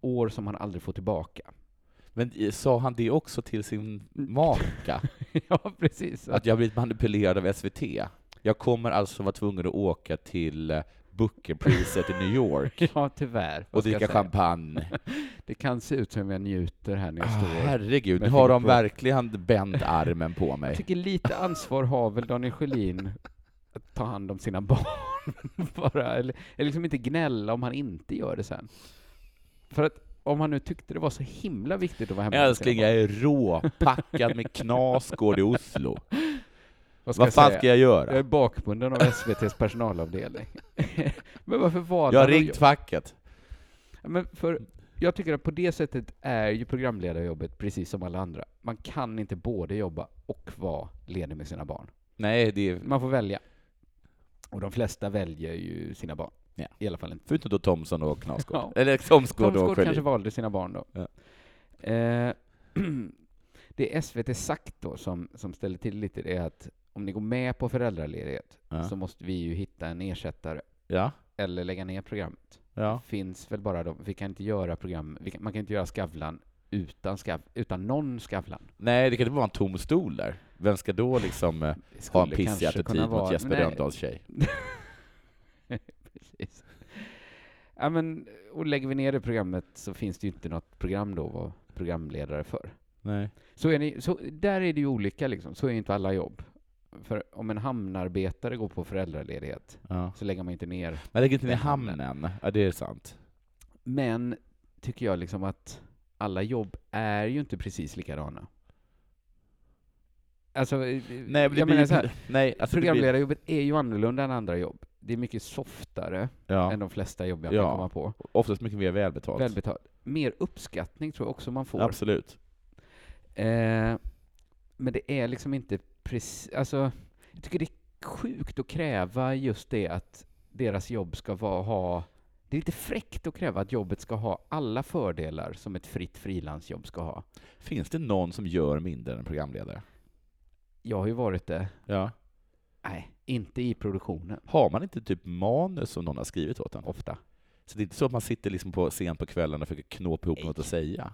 S2: År som han aldrig får tillbaka.
S3: Men i- sa han det också till sin
S2: Mm.
S3: maka?
S2: ja, precis.
S3: Att jag har blivit manipulerad av SVT? Jag kommer alltså vara tvungen att åka till eh, Bookerpriset i New York
S2: Ja, tyvärr.
S3: och
S2: Vad ska jag
S3: dricka
S2: säga? Ah,
S3: champagne.
S2: Det kan se ut som jag njuter här när
S3: Ah,
S2: jag står.
S3: herregud, nu
S2: Med
S3: har de
S2: fingerprov.
S3: verkligen bänt armen på
S2: Jag
S3: mig.
S2: tycker lite ansvar har väl Daniel Sjölin att ta hand om sina barn. Bara, eller, eller liksom inte gnälla om han inte gör det sen. För att om han nu tyckte det var så himla viktigt att vara hemma med sina
S3: Älskling,
S2: barn,
S3: jag är råpackad med knasgård i Oslo.
S2: vad, ska
S3: Vad fan
S2: jag
S3: ska
S2: säga?
S3: jag
S2: Jag är
S3: göra?
S2: bakbunden av SVTs personalavdelning. Men varför valde
S3: Jag har
S2: han att
S3: ringt facket.
S2: Ja, Men för jag tycker att på det sättet är ju programledarjobbet precis som alla andra. Man kan inte både jobba och vara ledig med sina barn.
S3: Nej, det är...
S2: Man får välja. Och de flesta väljer ju sina barn.
S3: Ja.
S2: I alla fall en
S3: Förutom då Thomson och Knasgård.
S2: Ja.
S3: Eller Thomsgård och
S2: Thomsgård kanske
S3: Sjölin.
S2: valde sina barn då.
S3: Ja.
S2: Eh, det är SVT sagt då som, som ställer till lite det är att om ni går med på föräldraledighet
S3: Ja.
S2: så måste vi ju hitta en ersättare
S3: Ja,
S2: eller lägga ner programmet.
S3: ja.
S2: Det finns väl bara de, vi kan inte göra program, vi kan, man kan inte göra Skavlan utan, skav, utan någon Skavlan.
S3: Nej, det kan inte vara en tom stol där. Vem ska då liksom eh,
S2: Det
S3: ha en
S2: skulle
S3: pissig
S2: kanske kunna
S3: attityd mot
S2: vara-
S3: Jesper
S2: Nej,
S3: Rönndahls tjej?
S2: Precis. Ja, men, och lägger vi ner det programmet så finns det ju inte något program då att vara programledare för.
S3: Nej.
S2: Så är ni, så, där är det ju olika liksom, så är ju inte alla jobb. För om en hamnarbetare går på föräldraledighet
S3: Ja.
S2: så lägger man inte ner.
S3: Man lägger inte ner
S2: Den hamnen.
S3: hamnen. Ja, det är sant.
S2: Men tycker jag liksom att alla jobb är ju inte precis likadana. Alltså, Nej,
S3: Nej, men det
S2: jag
S3: blir
S2: menar
S3: ju...
S2: så här,
S3: Nej, alltså det blir...
S2: programledarjobbet är ju annorlunda än andra jobb. Det är mycket softare än
S3: Ja,
S2: de flesta jobb jag kan
S3: Ja.
S2: komma på.
S3: oftast mycket mer välbetalt.
S2: Välbetalt. Mer uppskattning tror jag också man får.
S3: Absolut.
S2: Eh, men det är liksom inte precis... Alltså, jag tycker det är sjukt att kräva just det att deras jobb ska vara, ha... Det är lite fräckt att kräva att jobbet ska ha alla fördelar som ett fritt frilansjobb ska ha.
S3: Finns det någon som gör mindre än en programledare?
S2: Jag har ju varit det.
S3: Ja.
S2: Nej, inte i produktionen.
S3: Har man inte typ manus som någon har skrivit åt en?
S2: Ofta.
S3: Så det är inte så att man sitter liksom på scen på kvällen och försöker knåpa ihop något att säga?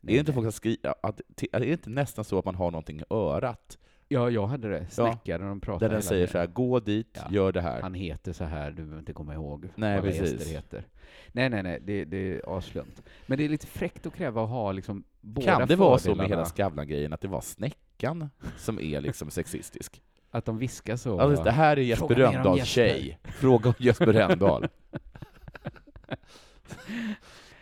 S2: Nej,
S3: är det inte
S2: nej.
S3: folk som skriver, att, till, är det inte nästan så att man har någonting i örat?
S2: Ja, jag hade det. Snickaren de pratade
S3: Där den
S2: hela
S3: säger
S2: tiden.
S3: så här, gå dit,
S2: Ja.
S3: gör det här.
S2: Han heter så här, du behöver inte komma ihåg vad
S3: Nej,
S2: alla
S3: precis.
S2: gäster heter. Nej, nej, nej, det, det är aslumt. Men det är lite fräckt att kräva att ha liksom båda
S3: Kan det vara så med
S2: fördelarna?
S3: hela Skavlan-grejen, att det var snäckan som är liksom sexistisk?
S2: Att de viskar så?
S3: Alltså, det här är Jesper
S2: Fråga mer om
S3: Rönndahls
S2: Jesper.
S3: tjej. Fråga om Jesper Rönndahl.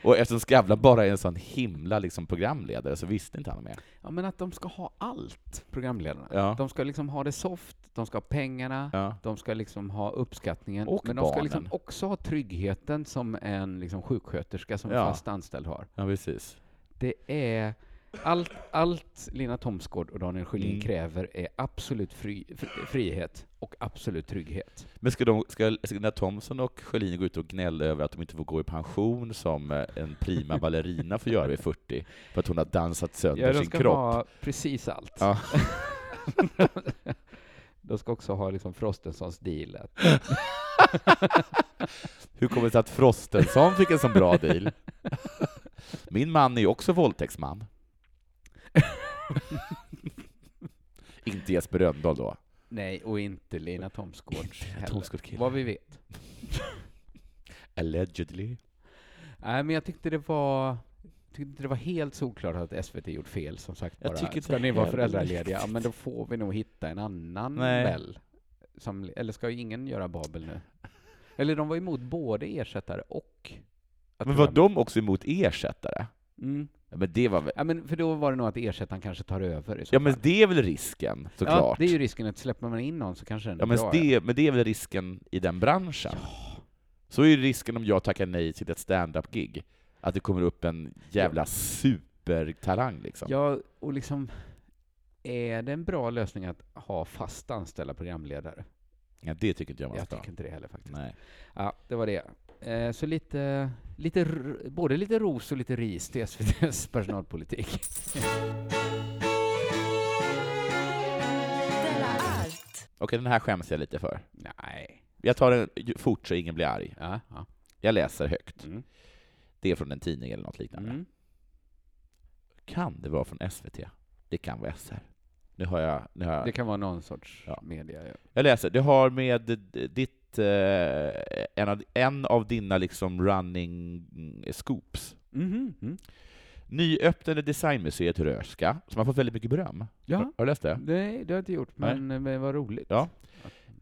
S3: Och eftersom Skavlan bara är en sån himla liksom programledare så visste inte han mer.
S2: Ja, men att de ska ha allt, programledarna.
S3: Ja.
S2: De ska liksom ha det soft, de ska ha pengarna,
S3: Ja.
S2: de ska liksom ha uppskattningen,
S3: Och
S2: men de ska liksom
S3: barnen.
S2: också ha tryggheten som en liksom sjuksköterska som
S3: Ja.
S2: fast anställd har.
S3: ja, precis.
S2: Det är... Allt, allt Lina Thomsgård och Daniel Sjölin
S3: Mm.
S2: kräver är absolut fri, fri, frihet och absolut trygghet.
S3: Men ska, de, ska, ska när Thomson och Sjölin gå ut och gnälla över att de inte får gå i pension som eh, en prima ballerina får göra vid 40, för att hon har dansat sönder
S2: Ja, de
S3: sin
S2: ska
S3: kropp?
S2: ha precis allt.
S3: Ja.
S2: de ska också ha liksom Frostensons deal. Att,
S3: Hur kommer det sig att Frostenson fick en sån bra deal? Min man är ju också våldtäktsman. Inte Jesper Rönndahl då.
S2: nej, och inte Lina Thomsgård heller.
S3: Thomsgård-killen.
S2: Vad vi vet.
S3: Allegedly.
S2: Nej, men jag tyckte det var... jag Tyckte inte det var helt solklart att SVT gjort fel, som sagt.
S3: Jag
S2: Bara.
S3: tycker inte
S2: ska ni vara
S3: heller
S2: föräldralediga? Ja,
S3: riktigt.
S2: men då får vi nog hitta en annan
S3: Nej.
S2: Bell. Som, eller ska ju ingen göra Babel nu? Eller de var emot både ersättare och... att
S3: Men var
S2: programmet-
S3: de också emot ersättare?
S2: Mm.
S3: Ja, men det var väl...
S2: Ja, men för då var det nog att ersättaren kanske tar över i så
S3: Ja, men
S2: fall.
S3: det är väl risken,
S2: Ja,
S3: såklart.
S2: det är ju risken att släpper man in någon så kanske den är
S3: Ja, men,
S2: bra. ja.
S3: det, men det är väl risken i den branschen? Så är ju risken om jag tackar nej till ett stand-up-gig, att det kommer upp en jävla supertalang liksom.
S2: Ja, och liksom, är det en bra lösning att ha fast anställda programledare?
S3: Ja, det tycker inte jag man
S2: Jag
S3: ska ha.
S2: tycker inte det heller faktiskt.
S3: Nej.
S2: Ja, det var det. Eh, Så lite, lite, r- både lite ros och lite ris till SVTs personalpolitik.
S1: Della Art.
S3: Okej, den här skäms jag lite för.
S2: Nej.
S3: Jag tar den ju- fort så ingen blir arg.
S2: Ja, ja.
S3: Jag läser högt.
S2: Mm.
S3: Det är från en tidning eller något liknande.
S2: Mm.
S3: Kan det vara från SVT? Det kan vara SR. Nu har jag... Nu har jag
S2: Det kan vara någon sorts
S3: Ja.
S2: media. Ja.
S3: Jag läser. Det har med d- ditt, eh, en, av, en av dina liksom running scoops.
S2: Mhm, Mm.
S3: Nyöppnade designmuseet Rörska, som har fått väldigt mycket beröm. Har,
S2: Ja, Mm.
S3: har du läst det?
S2: nej, det har jag inte gjort,
S3: Nej.
S2: men, eh, men vad roligt.
S3: Ja.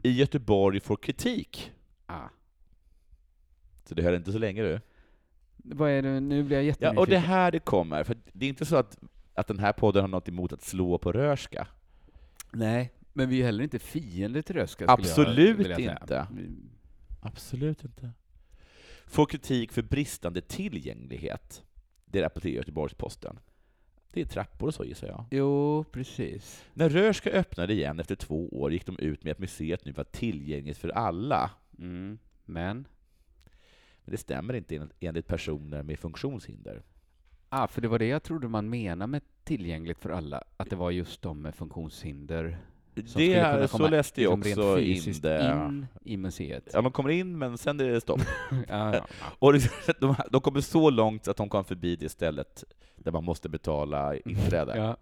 S3: I Göteborg får kritik.
S2: Ah.
S3: Så det höll inte så länge du.
S2: Vad är det? Nu blir jag
S3: Ja,
S2: jättenyfiken.
S3: och det här det kommer, för det är inte så att, att den här podden har något emot att slå på Rörska.
S2: Nej, men vi är heller inte fiender till Röska. skulle
S3: Absolut
S2: jag vilja säga.
S3: inte.
S2: Vi-
S3: Absolut inte. Får kritik för bristande tillgänglighet. Det rapporterar Göteborgs-Posten. Det är trappor och så gissar jag.
S2: Jo, precis.
S3: När Rörska öppnade igen efter två år gick de ut med att museet nu var tillgängligt för alla.
S2: Mm. Men?
S3: Men det stämmer inte en- enligt personer med funktionshinder.
S2: Ah, för det var det jag trodde man menade med tillgängligt för alla, att det var just de med funktionshinder som
S3: det
S2: skulle kunna
S3: är, så
S2: komma
S3: läste jag
S2: liksom
S3: också
S2: rent
S3: in
S2: fysiskt
S3: det.
S2: in i museet.
S3: Ja, de kommer in, men sen är det stopp.
S2: Ja, ja.
S3: Och det- de, de kommer så långt att de kom förbi det stället där man måste betala inträde.
S2: Ja.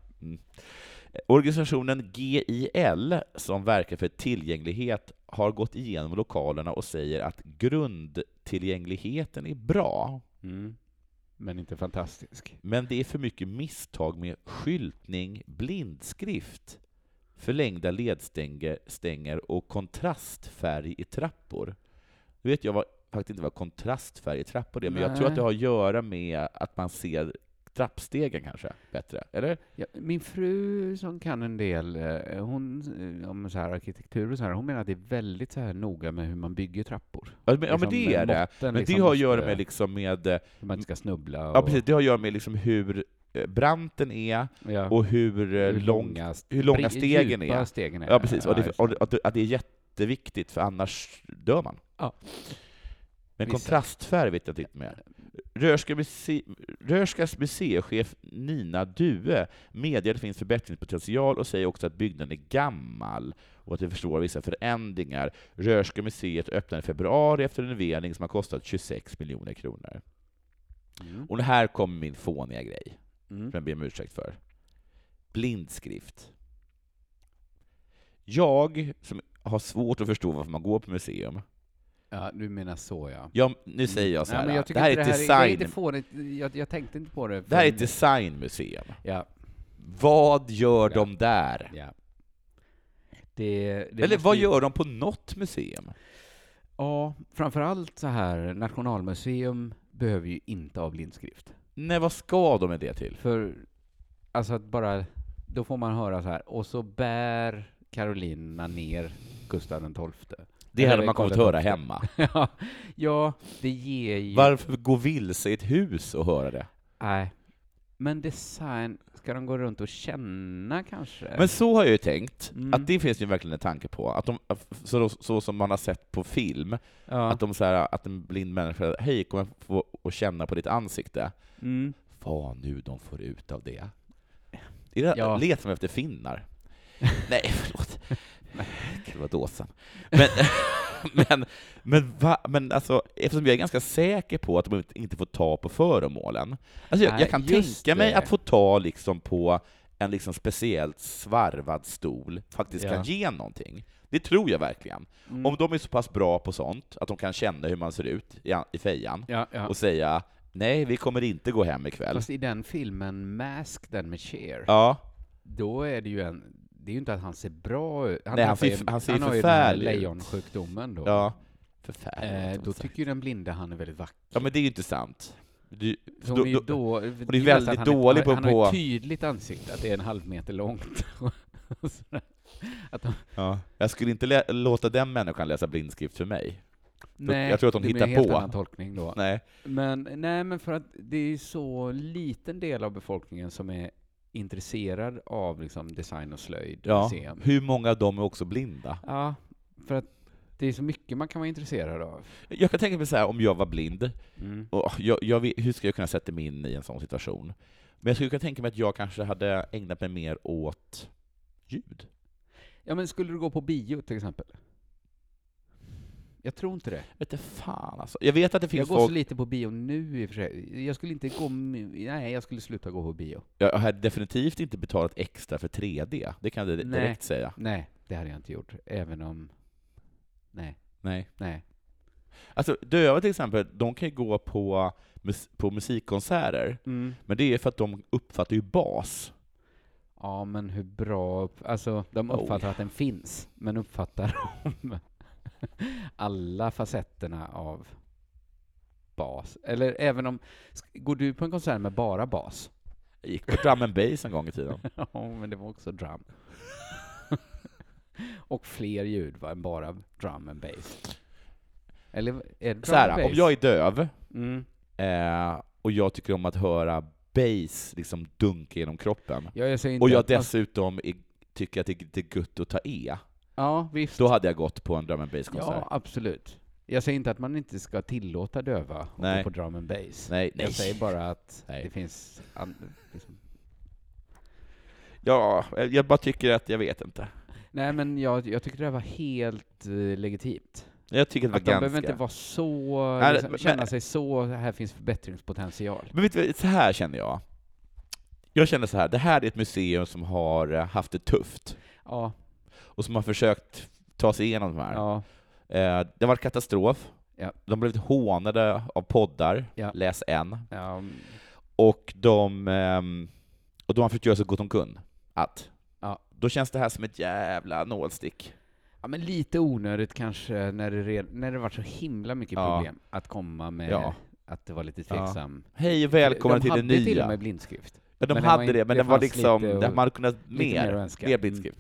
S3: Organisationen GIL, som verkar för tillgänglighet, har gått igenom lokalerna och säger att grundtillgängligheten är bra.
S2: Mm. Men inte fantastisk.
S3: Men det är för mycket misstag med skyltning, blindskrift, förlängda ledstänger stänger och kontrastfärg i trappor. Nu vet jag vad, faktiskt inte vad kontrastfärg i trappor är, men jag tror
S2: Nej.
S3: att det har att göra med att man ser trappstegen kanske bättre, eller?
S2: Ja, min fru som kan en del, eh, hon, eh, om så här arkitektur och så här, hon menar att det är väldigt så här noga med hur man bygger trappor.
S3: Ja, men, ja, men
S2: Liksom,
S3: det är det.
S2: måtten
S3: Men
S2: liksom
S3: det har att
S2: måste-
S3: göra med, liksom med eh,
S2: Hur man inte ska snubbla. Och,
S3: ja, precis, det har att göra med liksom hur eh, branten är
S2: ja,
S3: och hur, eh, lång, hur långa
S2: bri-
S3: stegen
S2: djupa
S3: är.
S2: stegen är.
S3: Ja, precis. Och, det,
S2: just
S3: och, det- att det- att det är jätteviktigt, för annars dör man.
S2: Ja.
S3: Men
S2: Vissa.
S3: kontrastfärg vet jag inte med. Rörska muse, Rörskas museichef Nina Due medger att det finns förbättringspotential och säger också att byggnaden är gammal och att det försvårar vissa förändringar. Rörska museet öppnade i februari efter en renovering som har kostat 26 miljoner kronor.
S2: Mm.
S3: Och här kommer min fåniga grej
S2: Mm.
S3: som jag ber om ursäkt för. Blindskrift. Jag, som har svårt att förstå varför man går på museum,
S2: Ja, du menar så ja.
S3: jag, nu säger jag så här,
S2: Nej, men jag
S3: det
S2: tycker
S3: här
S2: inte
S3: är
S2: det här är, det är
S3: design,
S2: inte fånigt. Jag, jag tänkte inte på det.
S3: det här är ett
S2: förrän-
S3: designmuseum.
S2: Ja,
S3: Vad
S2: Ja.
S3: gör de där?
S2: ja. Det, det
S3: Eller
S2: måste
S3: vad
S2: ju-
S3: gör de på något museum?
S2: Ja, framförallt så här, Nationalmuseum behöver ju inte ha blindskrift.
S3: Nej, vad ska de med det till?
S2: För, alltså att bara, då får man höra så här, och så bär Carolina ner Gustav den tolfte.
S3: Det
S2: Eller
S3: hade man kommit att
S2: Karl
S3: höra
S2: den
S3: hemma.
S2: ja, ja, det ger ju...
S3: Varför gå vilse i ett hus och höra det?
S2: Nej. Men design, ska de gå runt och känna kanske?
S3: Men så har jag ju tänkt,
S2: Mm.
S3: att det finns ju verkligen en tanke på, att de, så, så som man har sett på film,
S2: ja.
S3: Att, de så här, att en blind människa, hej, kommer jag få att känna på ditt ansikte?
S2: mm.
S3: Vad nu de får ut av det. Är det
S2: Ja.
S3: Letar de efter finnar? Nej, förlåt. Det var dåsen. Men, men, men, va, men alltså, eftersom jag är ganska säker på att de inte får ta på föremålen. Alltså jag,
S2: Nej,
S3: jag kan
S2: just
S3: tänka mig
S2: det.
S3: att få ta liksom på en liksom speciellt svarvad stol, faktiskt
S2: Ja.
S3: kan ge någonting. Det tror jag verkligen.
S2: Mm.
S3: Om de är så pass bra på sånt, att de kan känna hur man ser ut i, i fejan,
S2: ja, ja.
S3: och säga nej, vi kommer inte gå hem ikväll.
S2: Fast i den filmen Mask, den med Cher,
S3: Ja,
S2: då är det ju en... Det är ju inte att han ser bra ut.
S3: Nej,
S2: har
S3: han ser
S2: ju-
S3: f- han ser
S2: har ju den här
S3: förfärlig ut.
S2: lejonsjukdomen då.
S3: ja.
S2: Eh,
S3: Förfärligt.
S2: då tycker ju den blinde han är väldigt vacker.
S3: ja, men det är ju inte sant. Du,
S2: Så
S3: då-
S2: hon är ju
S3: då-
S2: då,
S3: är väldigt
S2: att han
S3: dålig på-
S2: Han har
S3: på-
S2: ett tydligt ansikte, att det är en halv meter långt. Och sådär. att de,
S3: ja. Jag skulle inte lä- låta den människan läsa blindskrift för mig.
S2: Nej,
S3: jag tror att de
S2: det blir
S3: hittar
S2: en helt
S3: på.
S2: annan tolkning då.
S3: Nej.
S2: Men, nej, men för att det är så liten del av befolkningen som är intresserad av liksom, design och slöjd. och
S3: Ja.
S2: museum.
S3: Hur många av dem är också blinda?
S2: ja, för att det är så mycket man kan vara intresserad av.
S3: Jag kan tänka mig så här, om jag var blind,
S2: Mm.
S3: och jag, jag, vet- hur ska jag kunna sätta mig in i en sån situation? Men jag skulle kunna tänka mig att jag kanske hade ägnat mig mer åt ljud.
S2: Ja, men skulle du gå på bio till exempel? Jag tror inte det.
S3: Vet du fan alltså. Jag vet att det
S2: Jag
S3: finns
S2: går så
S3: folk...
S2: lite på bio nu i och för sig. Jag skulle inte gå... m- Nej, jag skulle sluta gå på bio.
S3: Jag hade definitivt inte betalat extra för 3D, det kan jag di-
S2: Nej.
S3: direkt säga.
S2: Nej, det hade jag inte gjort. Även om... Nej,
S3: Nej.
S2: nej.
S3: Alltså döva till exempel, de kan ju gå på, mus- på musikkonserter, men det är för att de uppfattar ju bas.
S2: Ja, men hur bra... upp- Alltså, de
S3: Oh,
S2: uppfattar att den finns, men uppfattar de alla facetterna av bas? Eller även om... sk- Går du på en konsert med bara bas?
S3: Jag gick på drum and bass en gång i tiden.
S2: Ja, men det var också drum. Och fler ljud va, än bara drum and bass. Eller är det drum
S3: Så
S2: and
S3: här,
S2: bass?
S3: om jag är döv,
S2: mm.
S3: eh, och jag tycker om att höra bass liksom dunka genom kroppen,
S2: Ja, jag säger inte
S3: och jag
S2: att man-
S3: dessutom är, tycker att det det är gött att ta E,
S2: Ja, visst.
S3: då hade jag gått på en drum and bass-konsert.
S2: Ja, absolut. Jag säger inte att man inte ska tillåta döva att gå
S3: Nej.
S2: på drum and bass.
S3: Nej,
S2: Jag
S3: nej.
S2: säger bara att
S3: Nej.
S2: det finns... an- liksom.
S3: Ja, jag bara tycker att, jag vet inte.
S2: Nej, men jag, jag tyckte det här var helt eh, legitimt.
S3: Jag tycker att det
S2: Att
S3: var
S2: de
S3: ganska...
S2: behöver inte vara så...
S3: Nej,
S2: liksom,
S3: men-
S2: känna sig så, här finns förbättringspotential.
S3: Men vet du, så här känner jag. Jag känner så här, det här är ett museum som har eh, haft det tufft
S2: Ja,
S3: och som har försökt ta sig igenom de här.
S2: ja.
S3: Eh, Det har varit katastrof.
S2: Ja.
S3: De har blivit hånade av poddar,
S2: Ja.
S3: läs en.
S2: ja mm,
S3: Och de, ehm, och de har försökt göra så gott de kunde. Att.
S2: Ja.
S3: Då känns det här som ett jävla nålstick.
S2: Ja, men lite onödigt kanske när det, red, när det var så himla mycket
S3: Ja.
S2: problem att komma med
S3: Ja.
S2: att det var lite
S3: Ja.
S2: tveksam.
S3: Hej och välkommen
S2: de
S3: till det
S2: hade till och
S3: nya.
S2: med blindskrift.
S3: ja, de
S2: men det var
S3: hade
S2: inte-
S3: det, men
S2: det
S3: det var
S2: fanns
S3: liksom,
S2: lite
S3: det
S2: och-
S3: man hade kunnat
S2: lite mer att
S3: mer.
S2: önska.
S3: Mer blindskrift.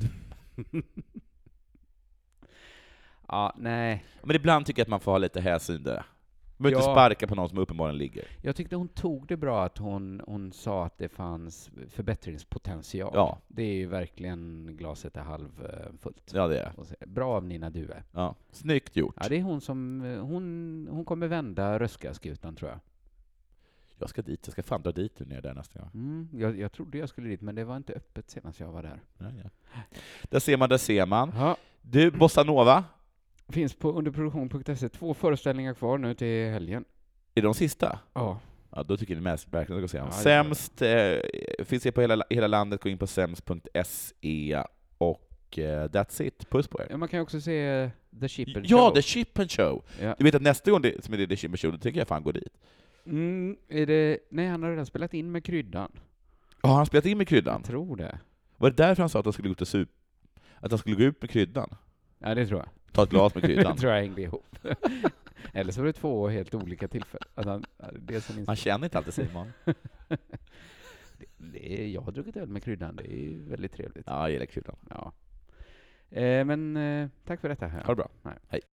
S2: Mm. Ja, nej.
S3: Men ibland tycker jag att man får ha lite hänsyn där. Man behöver
S2: Ja.
S3: inte sparka på någon som uppenbarligen ligger.
S2: Jag tyckte hon tog det bra att hon, hon sa att det fanns förbättringspotential.
S3: Ja,
S2: Det är ju verkligen glaset är halvfullt.
S3: ja det är
S2: Och så- Bra av Nina Due.
S3: ja. Snyggt gjort.
S2: Ja, det är hon som... eh, Hon, hon kommer vända Röskaskutan, tror jag.
S3: Jag ska dit, jag ska fan dra dit nu när jag är där nästa gång.
S2: Mm, jag. Jag trodde jag skulle dit, men det var inte öppet senast jag var där.
S3: Ja, ja. Där ser man, där ser man.
S2: Ja,
S3: Du, Bossanova,
S2: finns på underproduktion.se. Två föreställningar kvar nu till helgen.
S3: är de sista?
S2: Ja.
S3: Ja, då tycker ni mest- verkligen att ska se dem.
S2: Ja, det är bra.
S3: Sämst, eh, finns det på hela, hela landet, gå in på sämst.se och eh, that's it. Puss på er.
S2: Man kan ju också se The Shipper
S3: Ja,
S2: Show.
S3: The Chip and Show!
S2: Ja.
S3: Du vet att nästa gång det, som är det The Chip and Show, då tänker jag fan gå dit.
S2: Mm, är det... Nej, han har redan spelat in med kryddan.
S3: Har han spelat in med kryddan?
S2: Jag tror det.
S3: Var det därför han sa att han skulle gå ut och sup... Att han skulle gå ut med kryddan?
S2: Ja, det tror jag.
S3: Ta ett glas med kryddan?
S2: Det tror jag hängde ihop. Eller så var det två helt olika tillfällen. Att han, dels en
S3: Man
S2: inst-
S3: känner inte alltid Simon.
S2: det är, jag har druckit öl med kryddan, det är ju väldigt trevligt.
S3: Ja, jag gillar kryddan.
S2: Ja. Eh, men eh, tack för detta.
S3: Ha det bra.
S2: Nej.
S3: Hej.